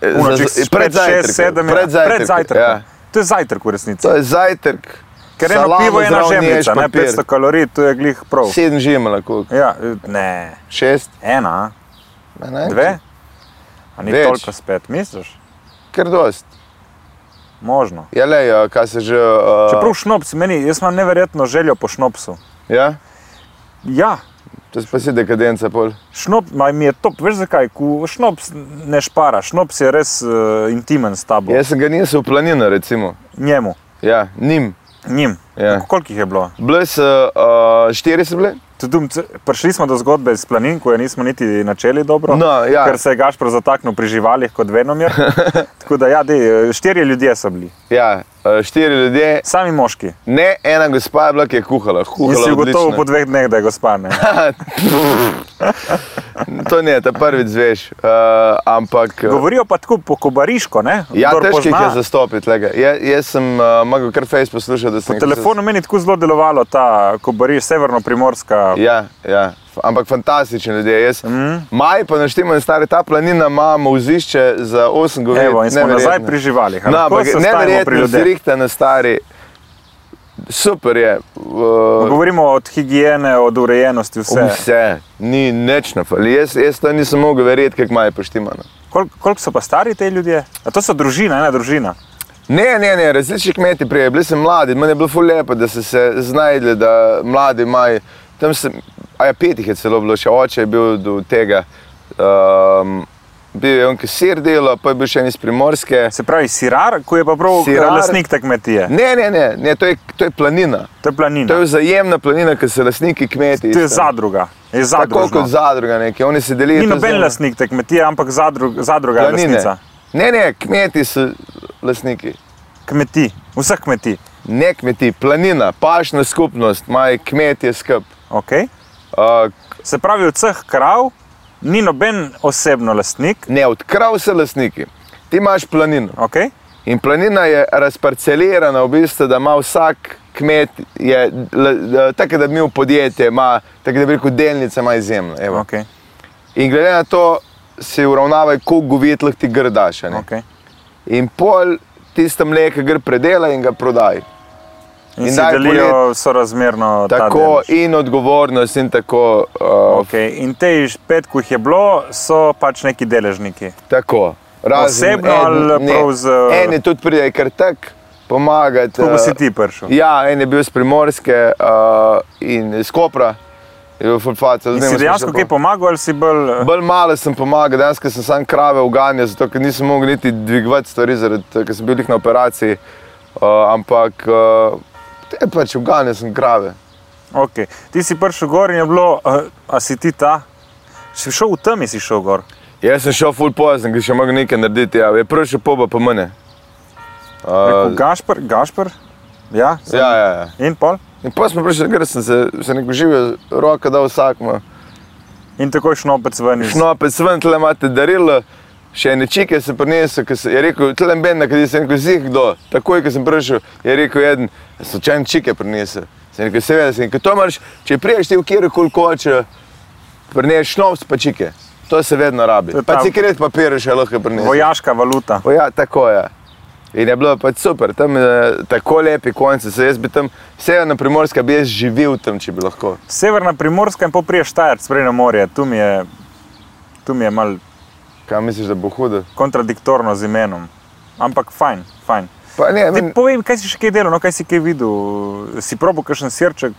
B: Eh,
C: uno, če
B: za-
C: si
B: pred
C: pred šest,
B: zajtrkom,
C: sedem,
B: pred
C: pred
B: zajtrkom,
C: zajtrkom.
B: ja.
C: To je zajtrk v resnici.
B: To je zajtrk.
C: Ker eno
B: salamo
C: pivo je ena
B: zraven ješ
C: žemljica, ne
B: papir.
C: 500 kalorij, to je glih prav.
B: Sedem žimela, koliko?
C: Ja, ne,
B: Šest,
C: ena,
B: a ne?
C: dve, a ni
B: Več.
C: toliko spet, misliš?
B: Ker dost.
C: Možno.
B: Ja, lej, a, kaj se že. Uh,
C: Čeprav šnops, meni, jaz imam neverjetno željo po šnopsu.
B: Ja,
C: Ja,
B: to si pa si dekadenca pol.
C: Šnop, ma, mi je top, veš zakaj? Ko šnops ne špara, šnops je res uh, intimen s tabo.
B: Jaz sem ga nisel v planino, recimo.
C: Njemu,
B: Ja, njim.
C: njim.
B: Ja.
C: Koliko jih je bilo?
B: Bile so uh, štiri, so bile,
C: tudum, c- prišli smo do zgodbe s planin, ko je nismo niti načeli dobro,
B: No, ja.
C: ker se je Gašpor zataknil pri živalih kot Venomir. Tako da, ja, dej, štirje ljudje so bili,
B: Ja, eh, štiri ljudje,
C: sami moški.
B: ne ena gospa je bila, ki je kuhala.
C: In
B: kuhala
C: si ugotovil
B: odlično. Ja.
C: po dveh dneh, da je gospa ne.
B: to ne, ta prvič zveš. Uh, ampak. eh,
C: Govorijo pa tako po kobariško, ne?
B: Ja,
C: Kdor
B: težko jih
C: pozna.
B: je zastopiti. lega. Ja, jaz sem uh, mogel kar fejs poslušati, da sem
C: Po telefonu meni tako zelo delovalo ta kobariš, severno-primorska.
B: Ja, ja. F- ampak fantastični ljudje. Jaz,
C: Mhm.
B: mm. Maj pa naštemam, stari ta planina ima mozišče za 8 govedi.
C: Evo, in smo nazaj pri živalih. a
B: No,
C: lahko
B: ampak
C: se ustavimo pri
B: neverjetno,
C: ljudeh?
B: zrihte na stari. Super je. Uh,
C: Govorimo od higiene, od urejenosti, vse.
B: Vse, ni nič na fali. Jaz, jaz to nisem mogel verjeti, kako maj no. poštimano.
C: Kol, koliko so pa stari ti ljudje? A to so družina, ena družina.
B: Ne, ne, ne, različni kmeti prej, bili smo mladi, meni je bilo ful lepo, da so se znajdli, da mladi imajo, tam se, a ja, pet jih je celo bilo, še oče je bil do tega. Um, bil je on kasir delo, pa je bil še en iz primorske.
C: Se pravi, sirar, ko je pa prav
B: Sirar.
C: sirar. lasnik te kmetije.
B: Ne, ne, ne, ne to, je, to je planina.
C: To je
B: To
C: planina.
B: je vzajemna planina, ki so lastniki kmeti.
C: To je
B: isto.
C: zadruga. Je
B: Tako kot
C: zadruga.
B: zadruga neke, oni se delijo.
C: Ni
B: to
C: noben
B: zemljo.
C: lasnik te kmetije, ampak zadrug, zadruga je
B: Planine.
C: lasnica.
B: Ne, ne, kmeti so lastniki.
C: Kmeti, vseh kmetij.
B: Ne kmeti, planina, pašna skupnost, maj kmetje skup.
C: Okay.
B: Uh,
C: Se pravi, od vseh krav ni noben osebno lastnik.
B: Ne, odkrav se lastniki. Ti imaš planino
C: Okay.
B: in planina je razparcelirana, v bistvu, da ima vsak kmet, je, l, l, tako da bi imel podjetje, ima, tako da bi rekel, delnice ima izjemno. evo.
C: Okay.
B: In glede na to si uravnavaj, koliko govit lahko ti grdaš. Okay.
C: Okay.
B: In pol tiste mleko gre predela in ga prodaj.
C: In,
B: In
C: in si
B: daj
C: delijo sorazmerno ta
B: Tako
C: delež.
B: in odgovornost in tako. Uh,
C: Okay. In te pet, ki jih je bilo, so pač neki deležniki.
B: tako. Razen
C: Osebno ali
B: ne,
C: prav z-
B: Eni tudi pride, ker tak pomagati.
C: Tako bo
B: eh,
C: si ti prišel.
B: Ja, en je bil iz Primorske uh, in iz Kopra, je bil fulfat.
C: In si dejansko kaj pomagal, ali si bolj. eh,
B: Bolj malo sem pomagal, dejansko sem sam krave uganjal, zato ker nisem mogel niti dvigovati stvari, zaradi, tega, ker sem bil glih na operaciji. Uh, ampak uh, te pač uganjal sem krave.
C: Okay. Ti si prišel gor in je bilo, eh, a si ti ta. Si šel v temi, si šel
B: Eh,
C: gor.
B: Jaz sem šel full pozen, ker še mogel nekaj narediti, ja. je prišel poba po mene.
C: Uh,
B: Uh,
C: Gašpr, Gašpr, ja, sem.
B: ja, ja, ja.
C: In pol.
B: In pa smo prišli, ker sem se, se neko živel, roka dal vsakmo.
C: In takoj šnopec ven iz
B: No, pa sem tle imate darilo, še nečike se prinesel, ki se je rekel, tle ben, na kateri sem rekel, zih kdo, takoj, ko sem prišel, je rekel eden, slučajno čike prinesel. Sem rekel, seveda, sem rekel, to moraš, če priješ ti v kjer koli koče, prineš šnovs pa čike. To se vedno rabi.
C: To je
B: Pa
C: ta-
B: cikret papir še lahko prinesel.
C: vojaška valuta.
B: Ja, tako je. In je bilo pač super, tam je tako lepi konci, se jaz bi tam, severna primorska bi jaz živel tam, če bi lahko.
C: Severna primorska in popriješ Štajerc, prej na morje. Tu mi je, tu mi je mal
B: Kaj misliš, da bo hudo?
C: kontradiktorno z imenom. Ampak fajn, fajn.
B: Pa ne,
C: Ti
B: meni-
C: povej, mi, kaj si še kaj delal, no, kaj si kaj videl? Si probo kakšen sirček?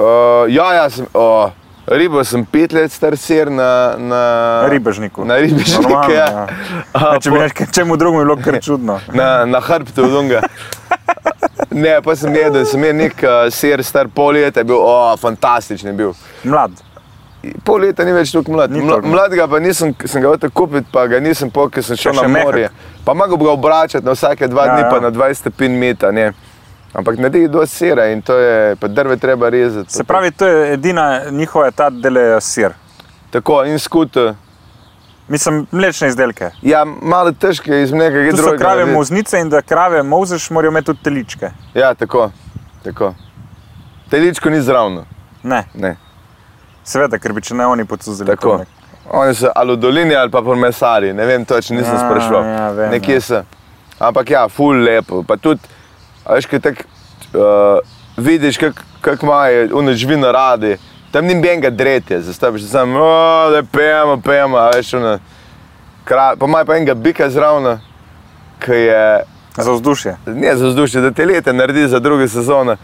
B: Uh, ja, ja, sem, uh, ribo sem pet let star sir na, na
C: Na ribežniku.
B: Na ribišniku,
C: Normalno,
B: ja.
C: ja.
B: A,
C: A, če bi
B: po-
C: rekel čemu drugemu, bi bilo kar čudno.
B: na, na hrbtu od unga. Ne, pa sem jedel, sem jedel nek uh, sir star pol leta, je bil oh, fantastičen. je Bil.
C: Mlad.
B: Pol leta ni več tako mlad.
C: Ni
B: Mla,
C: toliko.
B: mladega pa nisem, sem ga hotel kupiti, pa ga nisem pokal, ker sem šel
C: Še
B: na
C: mehak.
B: morje. Pa mogo bi ga obračati na vsake dva
C: Ja,
B: dni,
C: ja.
B: pa na 20 stopinj meta. Ne. Ampak naredi do sira in to je, pa drve treba rezati.
C: Se pravi, to je edina njihova ta dele sir.
B: Tako, in skuter.
C: Mislim, mlečne izdelke.
B: Ja, malo težko je iz nekega
C: Tu so
B: drugega.
C: krave
B: narediti.
C: moznice in da krave mozeš, morajo imeti tudi teličke.
B: Ja, tako. tako. Teličko ni zravno.
C: Ne,
B: Ne,
C: seveda, ker bi če ne oni pocuzili. to
B: tako.
C: nek-
B: Oni so ali dolini ali pa pomesari, ne vem točno, nisem
C: Ja,
B: sprašval.
C: ja, vem,
B: Nekje
C: ja.
B: so. Ampak ja, ful lepo. Pa tudi, a veš, kaj tak uh, vidiš, kako kak imajo ono živino radi. Tam ni benga dretje, zastaviš samo, "O, da pejemo, pejemo, a veš, ono. Kra, pa imajo pa enega bika zravno, ki je
C: Za vzdušje.
B: ne za vzdušje, da te lete naredi za druge sezone.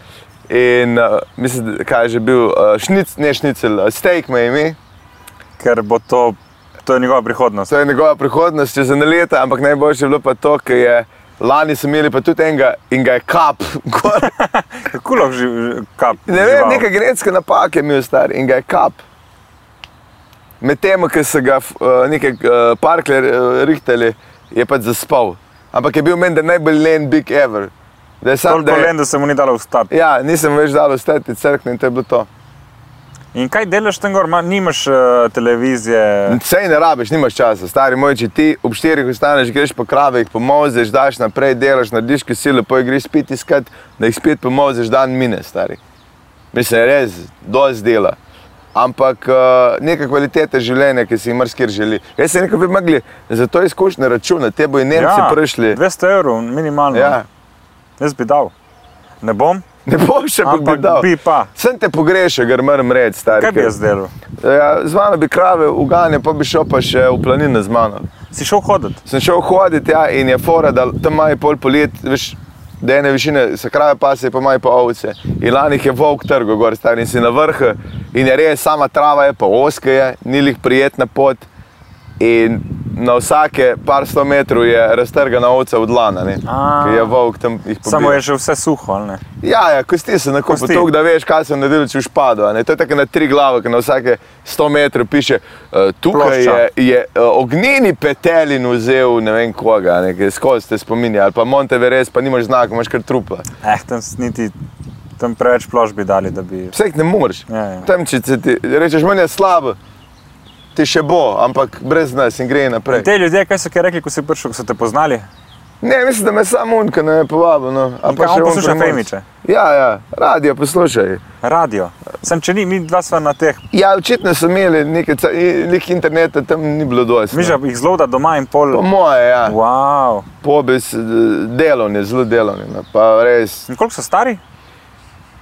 B: In uh, mislim, da- kaj je že bil, uh, šnic, ne šnicel, uh, steak me ime,
C: Ker bo to, to je njegova prihodnost.
B: torej to je njegova prihodnost, če za ne leta, ampak najboljše je bilo pa to, ker je Lani smo imeli pa tudi enega in ga je kap. gor.
C: Kako lahko živ, kap?
B: Ne vem, neka genetska napaka je imel star in ga je kap. Medtem, ko so ga eh, neke eh, parkle eh, rihtali, je pač zaspal. Ampak je bil meni, da najbolj len big ever. Da je sam,
C: Toliko
B: da je,
C: len, da se mu ni dalo vstati.
B: ja, nisem več dal ostati crkne in to je bilo to.
C: In kaj delaš tam gor, Ma, nimaš eh, televizije?
B: Vse ne rabiš, nimaš časa, stari moj, če ti ob 4 ostaneš, greš po kravih, pomozeš, daš naprej, delaš, narediš kisilo, pa greš spet iskat, da jih spet pomozeš, dan mine, stari. Mislim, res, dosti dela. Ampak uh, neka kvaliteta življenja, ki si jih marsikjer želi. Jaz se nekaj bi mogli za to izkušnje računati, te bojo Nemci ja. prišli.
C: 200 evrov, minimalno.
B: Ja.
C: Jaz bi dal. Ne bom,
B: Ne boš še
C: ampak
B: pogledal.
C: bi pa.
B: Sem te pogrešal, ker moram reči, stari.
C: Kaj bi
B: ker-
C: jaz delal?
B: Ja, z mano bi krave uganjal, pa bi šel pa še v planine z mano.
C: Si šel hoditi?
B: sem šel hoditi ja, in je fora, da tam imajo pol polet, veš, da ene višine se krave pase, pa imajo pa ovce. In lani jih je volk trgo, gor stari in si na vrhu in je res sama trava, je pa oska je, ni lih prijetna pot. In na vsake par sto metrov je raztrgana ovca od lana, ne,
C: A.
B: ker je volk tam jih pobil.
C: Samo je že vse suho, ali ne?
B: Ja, ja, kosti se na kopu
C: Kosti.
B: tako, da veš, kaj sem naredil, če ušpado. a ne. To je tako na tri glave, ki na vsake 100 metrov piše, eh, tukaj
C: Plošča.
B: je, je eh, ognjeni petelin vzel ne vem koga, a ne, ker skozi te spominja, ali pa Monteveres, pa nimaš znaka, imaš kar trupla.
C: Eh, tam s- niti, tam preveč plošč bi dali, da bi.
B: Vseh ne moreš.
C: Ja, ja.
B: Tam, če se ti rečeš, meni je slabo, ti še bo, ampak brez nas in gre naprej.
C: In te ljudje, kaj so kaj rekli, ko si prišel, ko so te poznali?
B: Ne, mislim, da me samo unka ne povabi. No. a
C: In kaj,
B: še
C: on
B: on
C: posluša
B: Primorc.
C: Femiče?
B: Ja, ja, radio poslušaj.
C: Radio. Sem če ni, mi dva sva na teh.
B: Ja, očitno so imeli nekaj, ca- i- lih interneta tam ni bilo dosti.
C: Mi
B: no.
C: že jih zloda doma in
B: Po
C: pol.
B: moje, ja.
C: Wow.
B: Pobes delovni, zelo delovni. no, Pa res.
C: In koliko so stari?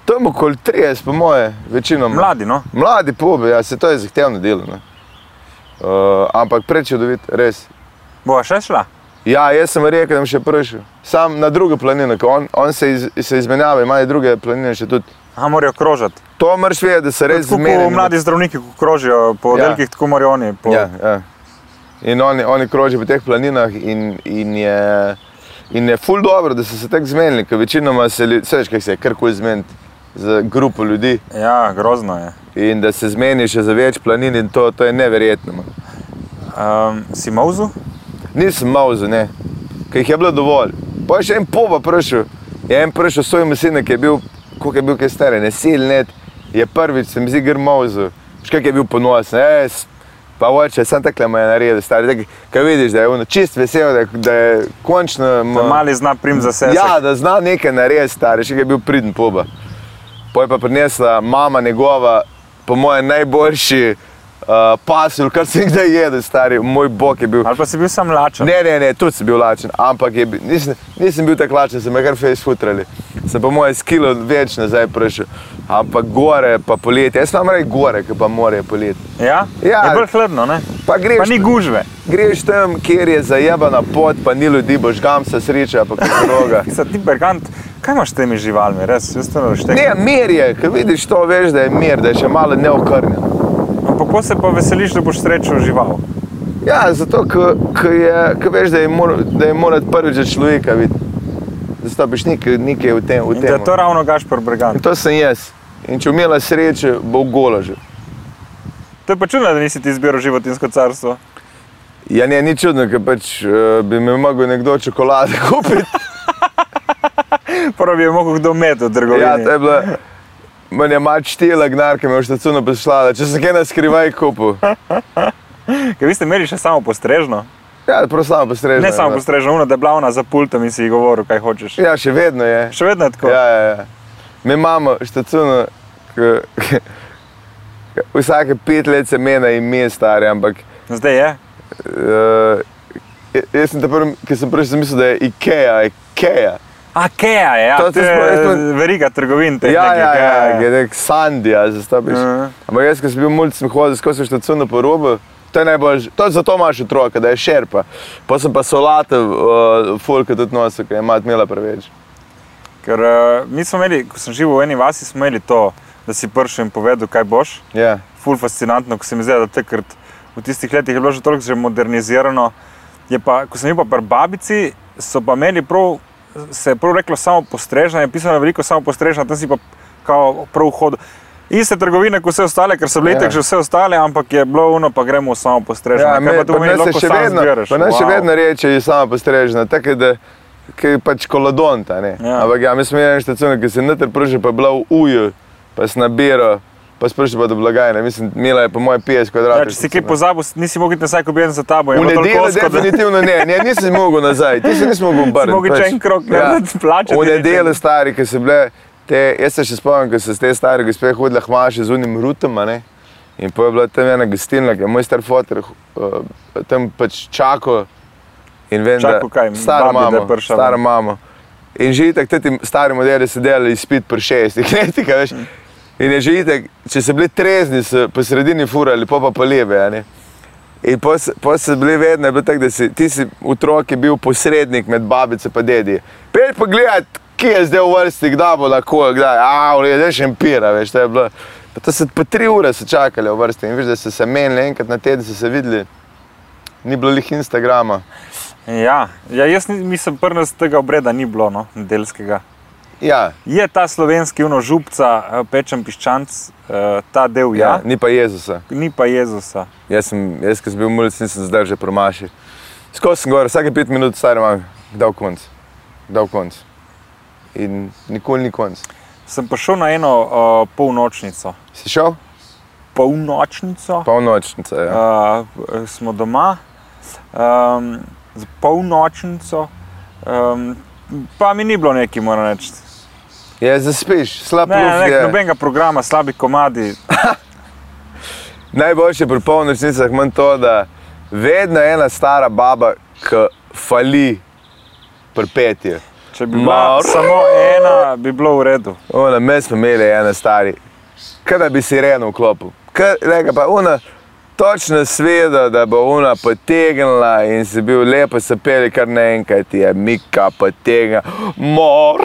B: To je okoli 30, po moje, večinoma.
C: Mladi, no.
B: Mladi pobe, ja, se to je zahtevno delo. ne. Uh, ampak prečudovit, res.
C: Bova še šla?
B: Ja, jaz sem rekel, da bom še prišel. Sam na drugo planino, ko on, on se, iz, se izmenjava, imajo druge planine še tudi.
C: Aha, morajo krožati.
B: To moraš vedeti, da se res
C: Tako
B: zmenijo.
C: kot mladi zdravniki, ko krožijo po
B: Ja.
C: oddelkih, tako morajo oni. Po...
B: Ja, ja. In oni, oni krožijo po teh planinah, in, in je, in je ful dobro, da so se tako zmenili, ker večinoma se ljudje, veš, kaj se je karkoli zmeniti z grupo ljudi
C: ja, grozno je.
B: in da se zmeni še za več planin in to, to je neverjetno. man.
C: Um, si mauzu?
B: Nisem mauzo, ne, ker jih je bilo dovolj. Pa je še en poba prišel, je en prišel svoj mesine, ki je bil, koliko je bil kaj star, ne sil let, je prvič, se mi zdi, gr mauzo. Še kaj je bil ponosen, e, s- pa oče, sem takle me je naredil, stari, tak, kaj vidiš, da je ono čist vesel, da, da je končno...
C: Da
B: ma-
C: mali zna prim za sebe.
B: Ja, da zna nekaj narediti, stari, še kaj je bil pridn poba. Poj pa je prinesla mama njegova, po mojem, najboljši uh, pasulj, kar sem jih kdaj jedel, stari, moj bog je bil.
C: Ali pa si bil sam lačen?
B: Ne, ne, ne, tudi sem bil lačen, ampak je, bi- nisem, nisem bil tako lačen, sem me kar fej sfutrali. Sem pa moje skilo več nazaj prišel. Ampak gore, pa poletje, jaz imam raje gore, kot pa more poletje.
C: Ja?
B: Ja.
C: Je bolj hladno, ne?
B: Pa greš,
C: Pa ni gužve.
B: greš tam, kjer je zajebana pot, pa ni ljudi, boš gam se sreča, pa kaj droga.
C: Sa ti bergant, kaj imaš s temi živalmi, res, jaz to ne
B: Ne,
C: reštekam.
B: mir je, ko vidiš to, veš, da je mir, da je še malo neokrnjen.
C: Kako se pa veseliš, da boš srečo žival?
B: Ja, zato, ker veš, da je, mor, da je morat prvič za človeka videti. Zato biš nekaj, nekaj v tem. V
C: In da
B: tem.
C: je to ravno Gašpor
B: In
C: Bergant.
B: to sem jaz. In če umela sreče, bo gola že.
C: To je pa čudno, da nisi ti izbiral životinsko carstvo.
B: Ja, ne, ni čudno, ker pač uh, bi mi mogel nekdo čokolade kupiti.
C: Prvo bi je mogel kdo met v trgovini.
B: ja, to je bila. Meni je mač štela gnarka, me je v štacuno poslala, če sem kaj na skrivaj kupil.
C: Ker vi ste imeli še samo postrežno.
B: Ja, prav samo postrežem.
C: Ne samo postrežno, ono da je bila ona za pultom in si ji govoril, kaj hočeš.
B: Ja, še vedno je.
C: Še vedno je tako.
B: Ja, ja, ja. Mi imamo štacuno, ki vsake pet let se mena ime stari, ampak
C: No, Zdaj je.
B: uh, jaz sem, ta prvi, ki sem prišel, sem mislil, da je Ikea, Ikea.
C: A Kea je, ja,
B: To- to
C: to je
B: smo- jaz smo-
C: veriga trgovin. teh
B: Ja,
C: nekih,
B: ja, ja, ja. nek Sandija, zastaviš.
C: Mhm.
B: Ampak jaz, ko sem bil mulj, sem hodil skozi štacuno po robu. To je najbolj, to je zato imaš otroka, da je šerpa. Pa sem pa solate, uh, fulka tudi nosil, ker je mat imela preveč.
C: Ker uh, mi smo imeli, ko sem živel v eni vasi, smo imeli to, da si prišel in povedal, kaj boš.
B: Ja.
C: Ful fascinantno, ko se mi zdi, da takrat v tistih letih je bilo že toliko že modernizirano. Je pa, ko sem bil pa pri babici, so pa meni prav, se je prav reklo samo postrežanje, pisano je veliko samo postrežanje, tam si pa kao prav hodil. Iste trgovine, kot vse ostale, ker so bile
B: Ja.
C: ja. že vse ostale, ampak je bilo uno, pa gremo samo postrežanje.
B: Ja,
C: Kaj
B: me,
C: pa tu
B: pa
C: meni
B: nas
C: lahko
B: je še
C: sam
B: vedno,
C: zbereš?
B: pa nas wow. še
C: Wow.
B: vedno reče, je sama postrežena, tako da ki je pač kolodonta. ne.
C: Ja.
B: Ampak ja, mi smo imeli štacuno, ki se ne te prži, pa je bila v uju, pa se nabira, pa sprši pa do blagajne. Mislim, Mila je po moje 50
C: Ja,
B: kvadratov.
C: če si kaj pozabil, nisi mogel iti nazaj, ko bi en za tabo. je
B: V
C: bilo toliko
B: nedeljo
C: ozko, da-
B: definitivno ne, ne, nisem mogel nazaj, ti se nisi mogel obrniti.
C: mogel čez en krog narediti,
B: pač. Ja.
C: plačati
B: V
C: nekaj.
B: nedeljo stari, ki so bile, te, jaz se še spomnim, ko so s te stare gospe hodile hmaše z unim rutom, a ne. In pa je bila tam ena gostilna, ki je moj star fotor, uh, tam pač čako in vem,
C: Čakal
B: da
C: kaj?
B: staro
C: Babi, da je
B: mamo,
C: prišla
B: staro
C: ven.
B: mamo. In že itak, ti stari modeli so delali izpit pri šestih, ne ti kaj veš. In je že itak, če so bili trezni, so po sredini furali, pa pa po leve, a ne. In pa so bili vedno je bilo tako, da si ti si otrok je bil posrednik med babico in dedi. Pej pa gledaj, kje je zdaj v vrsti, kdaj bo lahko, kdaj. A, urejde še empira, veš, to je bilo. Pa to so po tri ure so čakali v vrsti in veš, da so se menili enkrat na teden, so se videli. Ni bilo lih Instagrama.
C: Ja, ja, jaz ni- mislim, prnast tega obreda ni bilo, no, nedeljskega.
B: Ja,
C: Je ta slovenski uno župca, eh, pečen piščanc, eh, ta del
B: ja.
C: ja,
B: ja ni pa Jezusa.
C: ni pa Jezusa.
B: Jaz, sem, jaz ko sem bil mulj, nisem zdaj že promašil. Skozi sem gor, vsake pet minut star imam, dal konc, dal konc. In nikoli ni konc.
C: Sem prišel na eno uh, polnočnico.
B: Si šel?
C: Polnočnico,
B: Polnočnica. Ja.
C: uh, smo doma, um, z polnočnico, um, pa mi ni bilo neki, moram reči.
B: Je zaspiš, slab
C: Ne,
B: luf
C: ne, ne,
B: je.
C: nobenega programa, slabi komadi.
B: Najboljše pri polnočnicah manj to, da vedno je ena stara baba, ki fali pri petju.
C: Če bi bila
B: Mar-
C: samo ena, bi bilo v redu.
B: Ona, mi smo imeli ena stari, kaj da bi si reno vklopil. Kaj, reka pa ona, točno sveda, da bo ona potegnila in si bil lepo sapeli, kar naenkrat je mika potegna. Mor.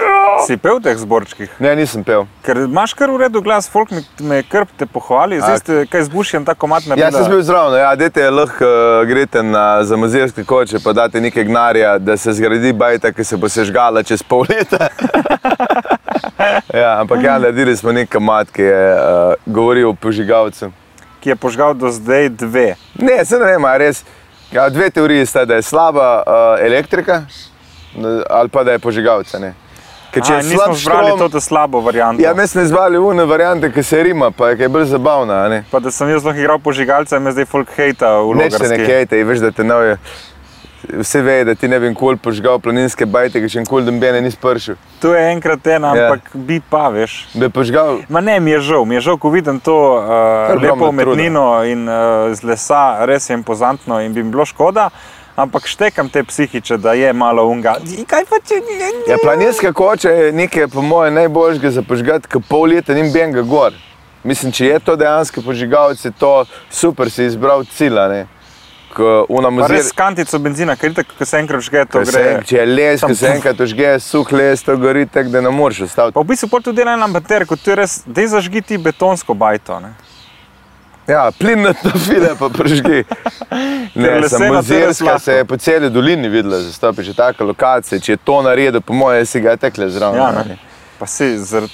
B: Ja.
C: Si pel v teh zborčkih?
B: Ne, nisem pel.
C: Ker imaš kar v redu glas, folk mi me krb te pohvali, zdaj
B: A-
C: ste kaj zbušjen, tako matna
B: Ja, sem bil zraven, ja, dete lahko eh, greste na zamazirske koče, pa date nekaj gnarja, da se zgradi bajta, ki se bo sežgala čez pol leta. ja, ampak ja, naredili smo nek mat, ki je uh, govoril o požigalcu.
C: ki je požgal do zdaj dve.
B: Ne, se ne vem, a res. Ja, dve teoriji sta, da je slaba uh, elektrika n- ali pa da je požigalca. ne. Ker če
C: A,
B: je slab
C: nismo zbrali
B: štrom,
C: to slabo varianto.
B: ja, mi smo izbrali une variante, ki se rima, pa ki je bolj zabavna. a Ne?
C: Pa da sem jaz lahko igral požigalca, me zdaj folk hejta v
B: Neč se ne
C: Logarski.
B: kajte, veš, da te novijo. Vse ve, da ti ne bi nikoli požgal planinske bajte, ki še nikoli dombene nisi pršil.
C: To je enkrat ena,
B: Ja.
C: ampak bi pa, veš.
B: Da bi požgal,
C: Ma ne, mi je žal, mi je žal, ko vidim to
B: Ogromno
C: uh, lepo
B: truda.
C: umetnino in uh, z lesa, res je impozantno in bi mi bilo škoda, ampak štekam te psihiče, da je malo unga. I Kaj pa če ni?
B: ja, planinska koča je nekaj, po mojem, najboljšega za požgati, ki pol leta ni ben ga gor. Mislim, če je to dejansko požigalec, je to super, si izbral cilj, a ne. Ko
C: Pa
B: unamazir,
C: res s kantico benzina, ker itak, ko se enkrat žge, to
B: ko se
C: gre.
B: en- če je les, ko
C: Tam
B: se
C: puf.
B: enkrat ožge, suh les, to gori tako, da ne moreš ustaviti.
C: Pa v bistvu pol tudi ena amater, kot ti res, da zažgi ti betonsko bajto. Ne?
B: Ja, plin na tofile pa pržgi.
C: Ker
B: Ne,
C: lesena
B: samo
C: to je res
B: zirska
C: lahko.
B: se je po celi dolini videla, zastopi že taka lokacija. Če je to naredil, po mojem, si ga je tekle zraven.
C: Ja,
B: a
C: ne. Pa si zaradi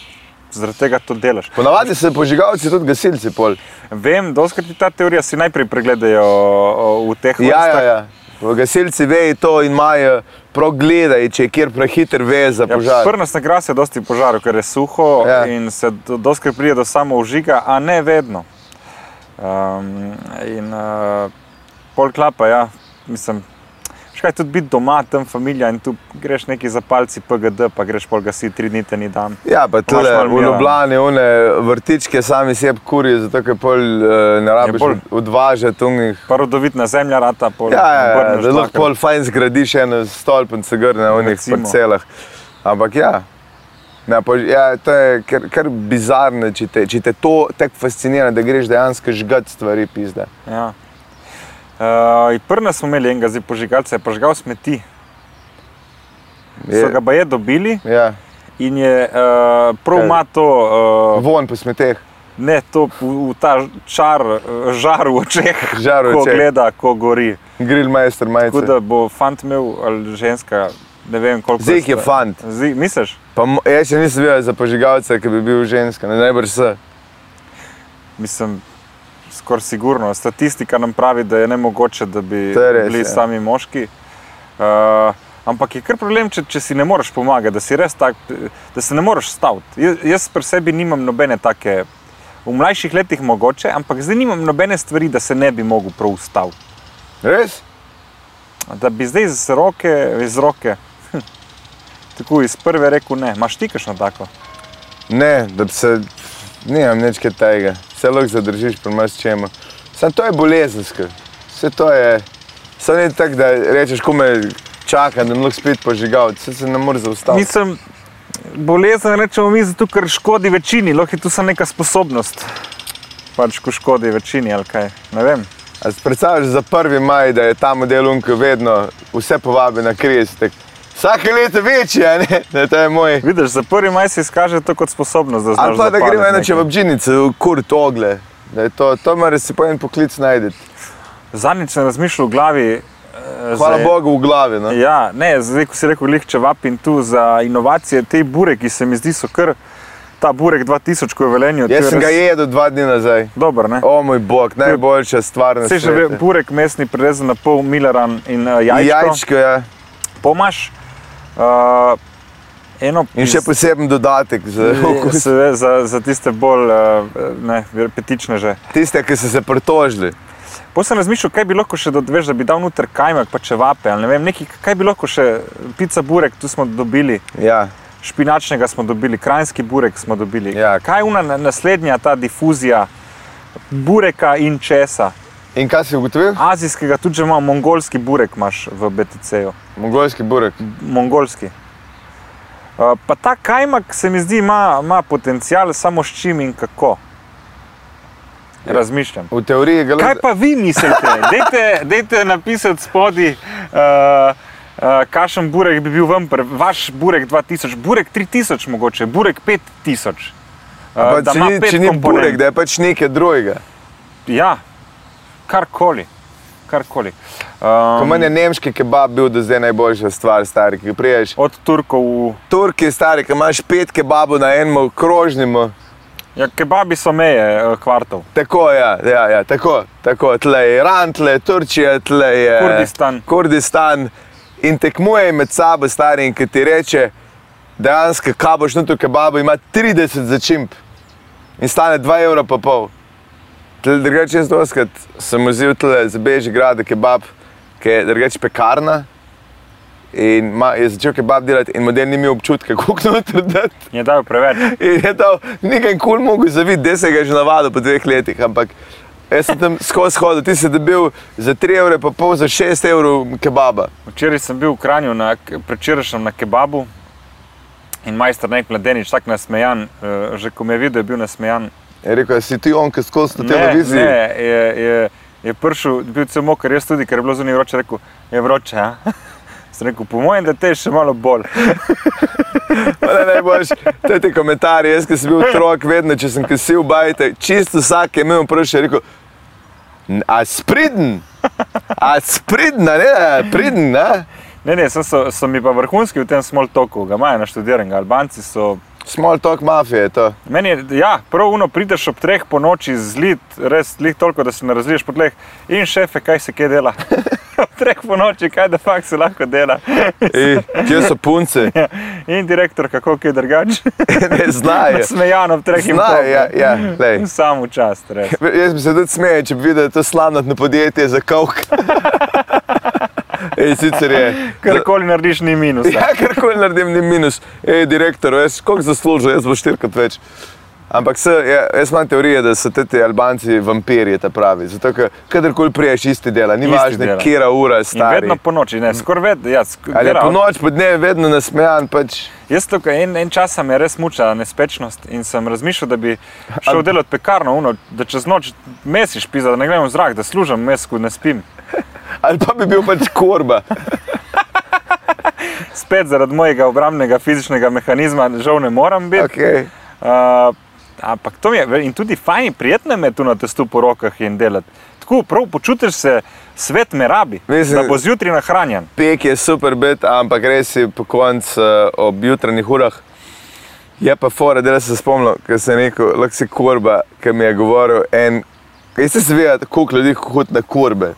C: zar tega to delaš.
B: Ponavadi se požigalci tudi gasilci pol.
C: Vem, doskrat ti ta teorija si najprej pregledajo o, v teh
B: Ja, ja,
C: vrstah.
B: ja. Pa Gasilci vejo to in imajo progledaj, če je kjer prehiter ve za
C: Ja,
B: požar.
C: Prnas na gras je dosti požarov, ker je suho
B: Ja.
C: ja. in se do- doskrat pride do samo užiga, a ne vedno. Um, in uh, pol klapa, ja, mislim. veš Kaj tudi biti doma, tam familia in tu greš neki zapalci PGD, pa greš pol gasi tri dni, te ni dan.
B: Ja, pa tudi
C: malo
B: v
C: mira.
B: Ljubljani one vrtičke sami sebi kurijo, zato ker pol eh,
C: Ja,
B: ne rabiš
C: bolj-
B: odvažati unih
C: Pa rodovitna zemlja, rata pol.
B: Ja, ja, ja,
C: obrneš
B: da lahko
C: dvakrat.
B: pol fajn zgradiš eno stolpnico gor na unih
C: Recimo.
B: parcelah. Ampak ja, ne, pa, ja to je kar, kar bizarno, če te, če te to tako fascinira, da greš dejansko žgati stvari, pizda.
C: Ja. Uh, Prna smo imeli enega zdaj požigalca, je požgal smeti.
B: Je-
C: So ga pa je dobili
B: Ja,
C: in je uh, prav
B: Kaj?
C: ima to, uh,
B: von po smeteh.
C: ne to v, v ta ž- čar, eh, žar v očeh,
B: Žar v
C: ko
B: očeh.
C: gleda, ko gori.
B: Grillmeister majice.
C: Tako da bo fant imel ali ženska, ne vem koliko.
B: Zik je
C: sta-
B: fant.
C: Zi, misliš?
B: Pa, mo- jaz še nisem bil za požigalca, ki bi bil ženska, ne najbrž se.
C: Mislim, skoraj sigurno. Statistika nam pravi, da je ne mogoče, da bi
B: To je res,
C: bili
B: ja.
C: sami moški. Uh, ampak je kar problem, če, če si ne moreš pomagati, da si res tak, da se ne moreš staviti. Jaz, jaz pri sebi nimam nobene take, v mlajših letih mogoče, ampak zdaj nimam nobene stvari, da se ne bi mogel prav ustaviti.
B: Res?
C: Da bi zdaj z roke, iz roke, tako iz prve rekel ne. Maš ti kakšno tako?
B: Ne, da bi se, nimam nič kaj tega, se lahko zadržiš pri marsičemu. Sam to je bolezensko, vse to je, sam ni tako, da rečeš, ko me čaka, da mi lahko spet požigalc, vse se ne more zaustaviti.
C: Mislim, bolezen rečemo mi, zato ker škodi večini, lahko je tu samo neka sposobnost. Pač, ko škodi večini ali kaj. Ne vem.
B: A si predstavljaš za 1. maj, da je ta model unka vedno vse povabi na križtek. Vsake leto večje, a ne, da to je moj.
C: Vidiš, za prvi maj se izkaže to kot sposobnost, da znaš.
B: Ali pa da
C: zapadati
B: gremo eno
C: nekaj.
B: čevapžinico, kurt ogle. Da je To, to mora si po en poklic najdeti.
C: Zadnjič sem razmišljal v glavi. eh,
B: Hvala
C: zdaj-
B: Bogu v glavi. No.
C: Ja, ne, zdaj, ko si rekel, lih čevap in tu za inovacije, te bure, ki se mi zdi, so kar ta burek 2000, ko je velenju.
B: Jaz sem ga jedel Oh, dva dni nazaj.
C: Dober, ne?
B: O moj bog, najboljša stvar na
C: Vse že ve,
B: svetu.
C: burek mesni prerezan na pol mileran in uh, jajčko.
B: Jajčko ja. je.
C: pomaš. Uh, eno
B: In še
C: pis-
B: poseben dodatek za okus.
C: Seveda, za, za tiste bolj uh, ne, petične že.
B: Tiste, ki so se pritožili.
C: Potem sem razmišljal, kaj bi lahko še dodal, da bi dal noter kajmak, pa čevape ali ne vem, nekaj, kaj bi lahko še, pica burek, tu smo dobili,
B: Ja.
C: špinačnega smo dobili, krajinski burek smo dobili.
B: Ja.
C: Kaj je una na- naslednja ta difuzija bureka in česa?
B: In kaj si ugotovil?
C: Azijskega tudi že imamo, mongolski burek imaš v BTC-ju.
B: Mongolski burek.
C: mongolski. Uh, Pa ta kajmak se mi zdi, ima, ima potencial, samo s čim in kako.
B: Ja.
C: Razmišljam.
B: V teoriji ga
C: Kaj
B: lahko.
C: pa vi mislite? Dajte, dajte napisati spodaj, uh, uh, kakšen burek bi bil vam, pri- vaš burek 2000, burek 3000, mogoče, burek 5000. Uh,
B: Pa,
C: da
B: če
C: ima
B: ni,
C: pet
B: če ni
C: komponent.
B: burek, da je pač nekaj drugega.
C: Ja, karkoli. karkoli.
B: Po
C: Um,
B: meni je nemški kebab bil do zdaj najboljša stvar, stari, ki priješ.
C: od Turkov v
B: Turki, stari, ki imaš pet kebabov na enem krožnemu.
C: ja, kebabi so meje eh, kvartov.
B: Tako, ja, ja, ja, tako, tako. Tle je Iran, tle je Turčija, tle je
C: Kurdistan.
B: Kurdistan. In tekmuje med sabo, stari, in ki ti reče, dejansko, kaj boš nutil kebabu, ima 30 začimb in stane 2,5 evra. pa pol. Tle Drugače, jaz doskrat sem vzel tle za beži grad kebab, ki je drugače pekarna. In ma, je začel kebab delati, in model ni imel občutka, kako noter dati.
C: Je dal preveč.
B: In je dal nekaj kul mogo zaviti, da se ga je že navadil po dveh letih, ampak jaz sem tam skozi hodil, ti si dobil za 3 evre, pa pol za 6 evrov kebaba.
C: Včeraj sem bil v Kranju, na, prečerajšnjem na kebabu in majster nek mladenič, tako nasmejan, eh, že ko me je videl, je bil nasmejan.
B: Je rekel, "Ja, si ti on, ki skozi to
C: Ne,
B: televizijo.
C: Ne, je, je, je prišel, bil sem mokar, jaz tudi, ker je bilo zunaj vroče, rekel, je vroče. A? Sem rekel, po mojem, da te je še malo bolj.
B: Ne, ne, boš, to je ti komentarji, jaz, ki sem bil otrok, vedno, če sem kasil bajte, čisto vsak je imel vprašanje, je rekel, "N- a spridn, a spridn, a ne, pridn, a?
C: Ne, ne, sem, so, so mi pa vrhunski v tem small talku, ga imajo naštudiran, Albanci so.
B: Small talk mafije je to.
C: Meni je, ja, prav uno, prideš ob treh po noči zlit, res zlit toliko, da se ne razliješ po tleh in šefe, kaj se kje dela. ob treh po noči, kaj da fakt se lahko dela.
B: Ej, kje so punce?
C: in direktor, kako je drugače.
B: Ne znajo.
C: Smejan ob treh in
B: Znajo,
C: pol.
B: ja, ja, lej.
C: Sam v čast, res.
B: Jaz bi se tudi smejal, če bi videl, da je to slamnatno podjetje za kavk. Ej, sicer je.
C: Karkoli narediš, ni minus.
B: Ja, karkoli naredim, ni minus. Ej, direktor, veš, koliko zasluži, jaz bo štirikrat več. Ampak se, ja, jaz imam teorije, da so te, te Albanci vampirji, ta pravi. Zato, ker kadarkoli priješ isti dela, ni
C: Isti
B: važno,
C: dela.
B: kera ura je stara.
C: Vedno po noči, ne, skoraj vedno. Ja, sk
B: Ali je
C: dela-
B: po no- noč, po dnevu, vedno nasmejan, pač
C: Jaz tukaj en, en čas sem res mučila nespečnost in sem razmišljal, da bi šel delati pekarno, uno, da čez noč mesiš pisa, da ne grem v zrak, da služim mesku, ne spim.
B: ali pa bi bil pač korba.
C: Spet zaradi mojega obrambnega fizičnega mehanizma žal ne morem biti. Eh,
B: Okay.
C: Uh, ampak to mi je, in tudi fajn, prijetno mi je tu na testu po rokah in delati. tako, prav počutiš se, svet me rabi,
B: Mislim-
C: Mislim, da bo zjutraj nahranjen.
B: Pek je super bit, ampak res je po koncu eh, ob jutranjih urah. Je pa fora, da se spomnim, ker sem rekel, lahko si kurba, ki mi je govoril. En, kaj se zveja, koliko ljudi hodi na kurbe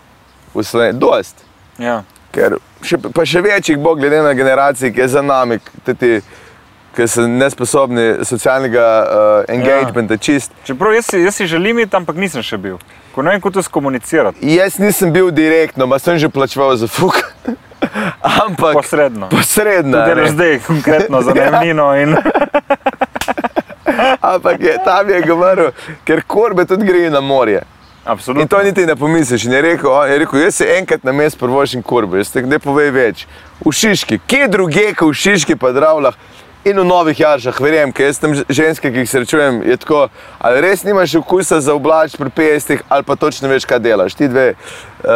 B: v Sloveniji? Dost.
C: Ja.
B: Ker še, pa še več jih bo, glede na generacijo, ki je za nami, teti, ki so nesposobni socialnega uh, engagementa ja. čist.
C: Čeprav jaz, si- jaz si želim iti, ampak nisem še bil. Ko ne vem, kako to skomunicirati,
B: Jaz nisem bil direktno, ma sem že plačeval za fuk. Ampak Ja.
C: posredno.
B: posredno. a ne.
C: Delaš zdaj konkretno za najemnino in
B: Ampak je, tam je govoril, ker korbe tudi grejo na morje.
C: absolutno.
B: In to niti ne pomisliš. In je rekel, on, je rekel jaz se enkrat na mest prvošim korbe, jaz te ne povej več. V Šiški, kje druge, kot v Šiški, pa Dravlah in v Novih Jaržah, verjem, ker jaz tam ž- ženske, ki jih srečujem, je tako, ali res nimaš okusa za oblač pri 50, ali pa točno veš, kaj delaš. Ti dve uh,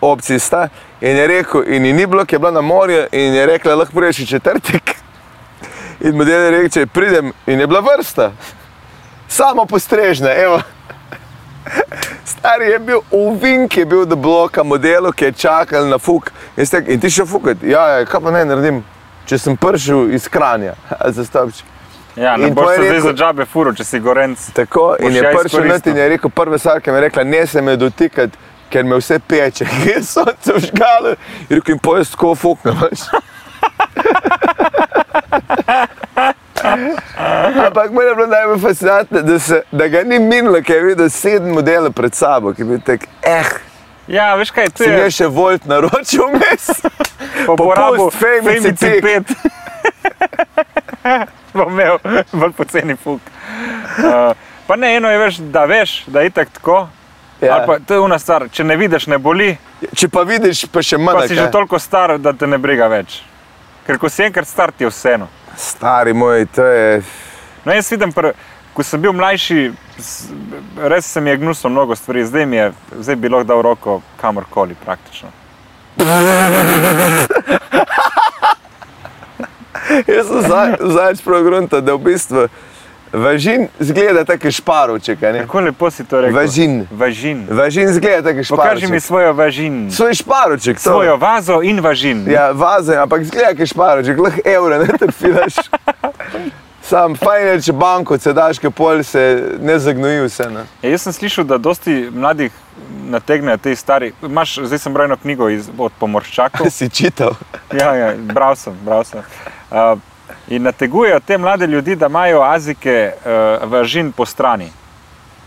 B: opciji sta. In je rekel, in ji ni bilo, ki je bila na morju, in je rekla, lahko reši četrtek. In model je rekel, če pridem, in je bila vrsta, samo postrežna, evo. Stari je bil uvink, je bil do bloka modelu, ki je čakal na fuk. In, stek, in ti še fukati, ja, ja, kaj pa naj naredim, če sem pršil iz kranja, zastopči.
C: Ja, ne
B: In
C: boš
B: to je
C: se zdaj
B: rekel-
C: za džabe furo, če si gorenc.
B: Tako, in
C: Boš
B: je
C: ja
B: pršil not in
C: izkoristil.
B: je rekel, prve stvar, ki mi je rekla, ne se me dotikati, ker me vse peče, ker je sonce vžgalo. In rekel, in pojjo tako fuknem. veš. Ampak meni je bilo najbolj fascinantno, da, se, da ga ni minilo, ker je videl sedem modelov pred sabo, ki je bil tak, eh,
C: Ja, veš kaj, to
B: Sem
C: je
B: jaz še volt naročil vmes,
C: po uporabi
B: popust, Femici pik.
C: 5. Bom imel bolj poceni fuk. Uh, pa ne, eno je veš, da veš, da je itak tako.
B: Ja.
C: Ja. Pa, to je una stvar, če ne vidiš, ne boli,
B: če pa vidiš, pa še
C: pa
B: manj.
C: si
B: kaj.
C: že toliko star, da te ne briga več. Ker ko si enkrat star, ti je vseeno.
B: Stari moj, to je.
C: No, jaz vidim, pr, ko sem bil mlajši, s- res se mi je gnusno mnogo stvari, zdaj mi je, zdaj bi lahko dal roko kamorkoli praktično.
B: Jaz sem za- zadnjič prav grunta, da v bistvu važin zgleda tako kot šparovček. a ne?
C: Kako lepo si to rekel?
B: Važin.
C: Važin.
B: Važin zgleda tako kot
C: Pokaži mi
B: šparovček.
C: svojo važin.
B: Svoj šparovček, to.
C: Svojo vazo in važin.
B: Ja, vazen, ampak zgleda kot šparovček, lahko evre ne trpiš. Sam fajn je, če banko se daš, ki pol se ne zagnoji vse. no. Ne?
C: Ja, jaz sem slišal, da dosti mladih nategnejo te stari. Imaš, zdaj sem bral eno knjigo iz, od pomorščakov.
B: Si čital.
C: Ja, ja, bral sem, bral sem. Uh, in nategujejo te mlade ljudi, da imajo azike uh, važin po strani.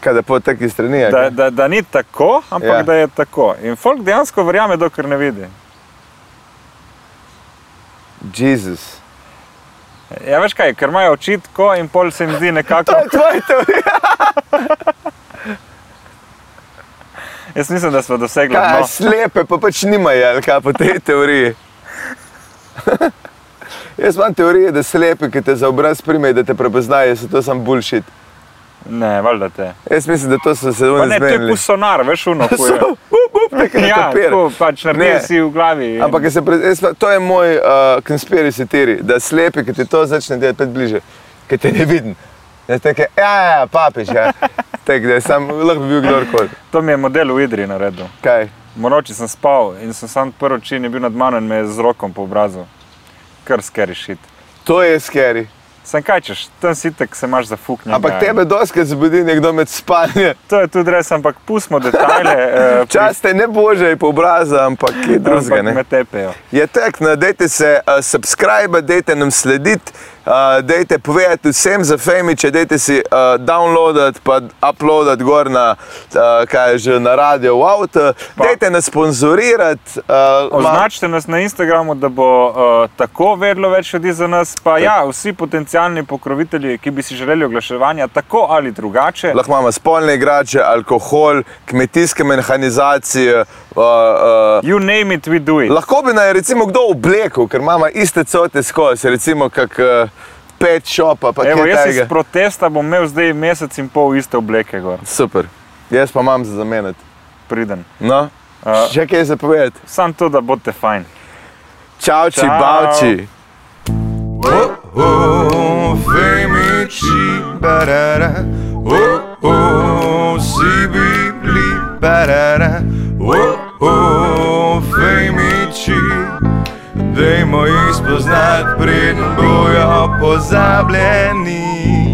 B: Kaj da po taki strani. a
C: Da,
B: kaj?
C: da, da ni tako, ampak
B: Ja.
C: ja. da je tako. In folk dejansko verjame, dokler ne vidi.
B: Jezus.
C: Ja, veš kaj, ker imajo oči tako in pol se jim zdi nekako.
B: To je tvoja teorija.
C: Jaz mislim, da smo dosegli.
B: Kaj,
C: dno.
B: no. Slepe pa pač nimajo, ali kaj po tej teoriji. Jaz imam teorije, da slepe, ki te za obraz primejo, da te prepoznajo, da so to sam bullshit.
C: Ne, valjda te.
B: Jaz mislim, da to so se
C: Pa
B: oni
C: ne, to je
B: zmenili.
C: pusonar, veš, uno. ko je. Ja,
B: Ja,
C: tako pač
B: Ne.
C: naredil si v glavi. in-
B: Ampak jaz se pre, jaz, pa- to je moj uh, konspiracijski teori, da slepe, ki ti to začne delati, pet bliže, ki te ne vidim. Ja, teke, ja, ja, papiš, ja. Tako da sam lahko bi bil kdorkoli.
C: To mi je model v Idri naredil.
B: Kaj?
C: Monoči sem spal in sem sam prvi čin je bil nad mano in me je z rokom po obrazu. Kar skeri šit.
B: To je skeri.
C: Sem kaj češ, tam si tek se imaš za fuknje.
B: Ampak tebe doskrat zbudi nekdo med spanjem.
C: To je tudi res, ampak pustimo detajle. eh, pri-
B: Čas te ne božaj po obrazu, ampak kaj drugega.
C: ampak
B: ne.
C: Me tepejo.
B: Je tek, no, dajte se uh, subscribe, dajte nam slediti, uh, dajte povedati vsem za femiče, dajte si uh, downloadati, pa uploadati gor na, uh, kaj je že na radio, v avto, dajte nas sponzorirati. Uh, ma-
C: Označite nas na Instagramu, da bo uh, tako vedlo več ljudi za nas. Pa ja, vsi potencijalni pokrovitelji, ki bi si želeli oglaševanja tako ali drugače,
B: Lahko imamo spolne igrače, alkohol, kmetijske mehanizacije. Uh, uh,
C: you name it, we do it.
B: Lahko bi naj recimo kdo oblekel, ker imamo iste cote skozi, recimo kak uh, pet šopa, pa
C: Evo,
B: kaj
C: jaz iz
B: takega.
C: protesta bom imel zdaj mesec in pol iste obleke, gor,
B: Super, jaz pa imam za zamenjati.
C: pridem.
B: No,
C: A-
B: še kaj za povedati.
C: Sam to, da boste fajn.
B: Čauči,
C: Čau.
B: bavči.
A: Oh, oh, femici, barara. Oh, oh, si bibli, barara.
B: Dajmo jih spoznati, preden bojo pozabljeni.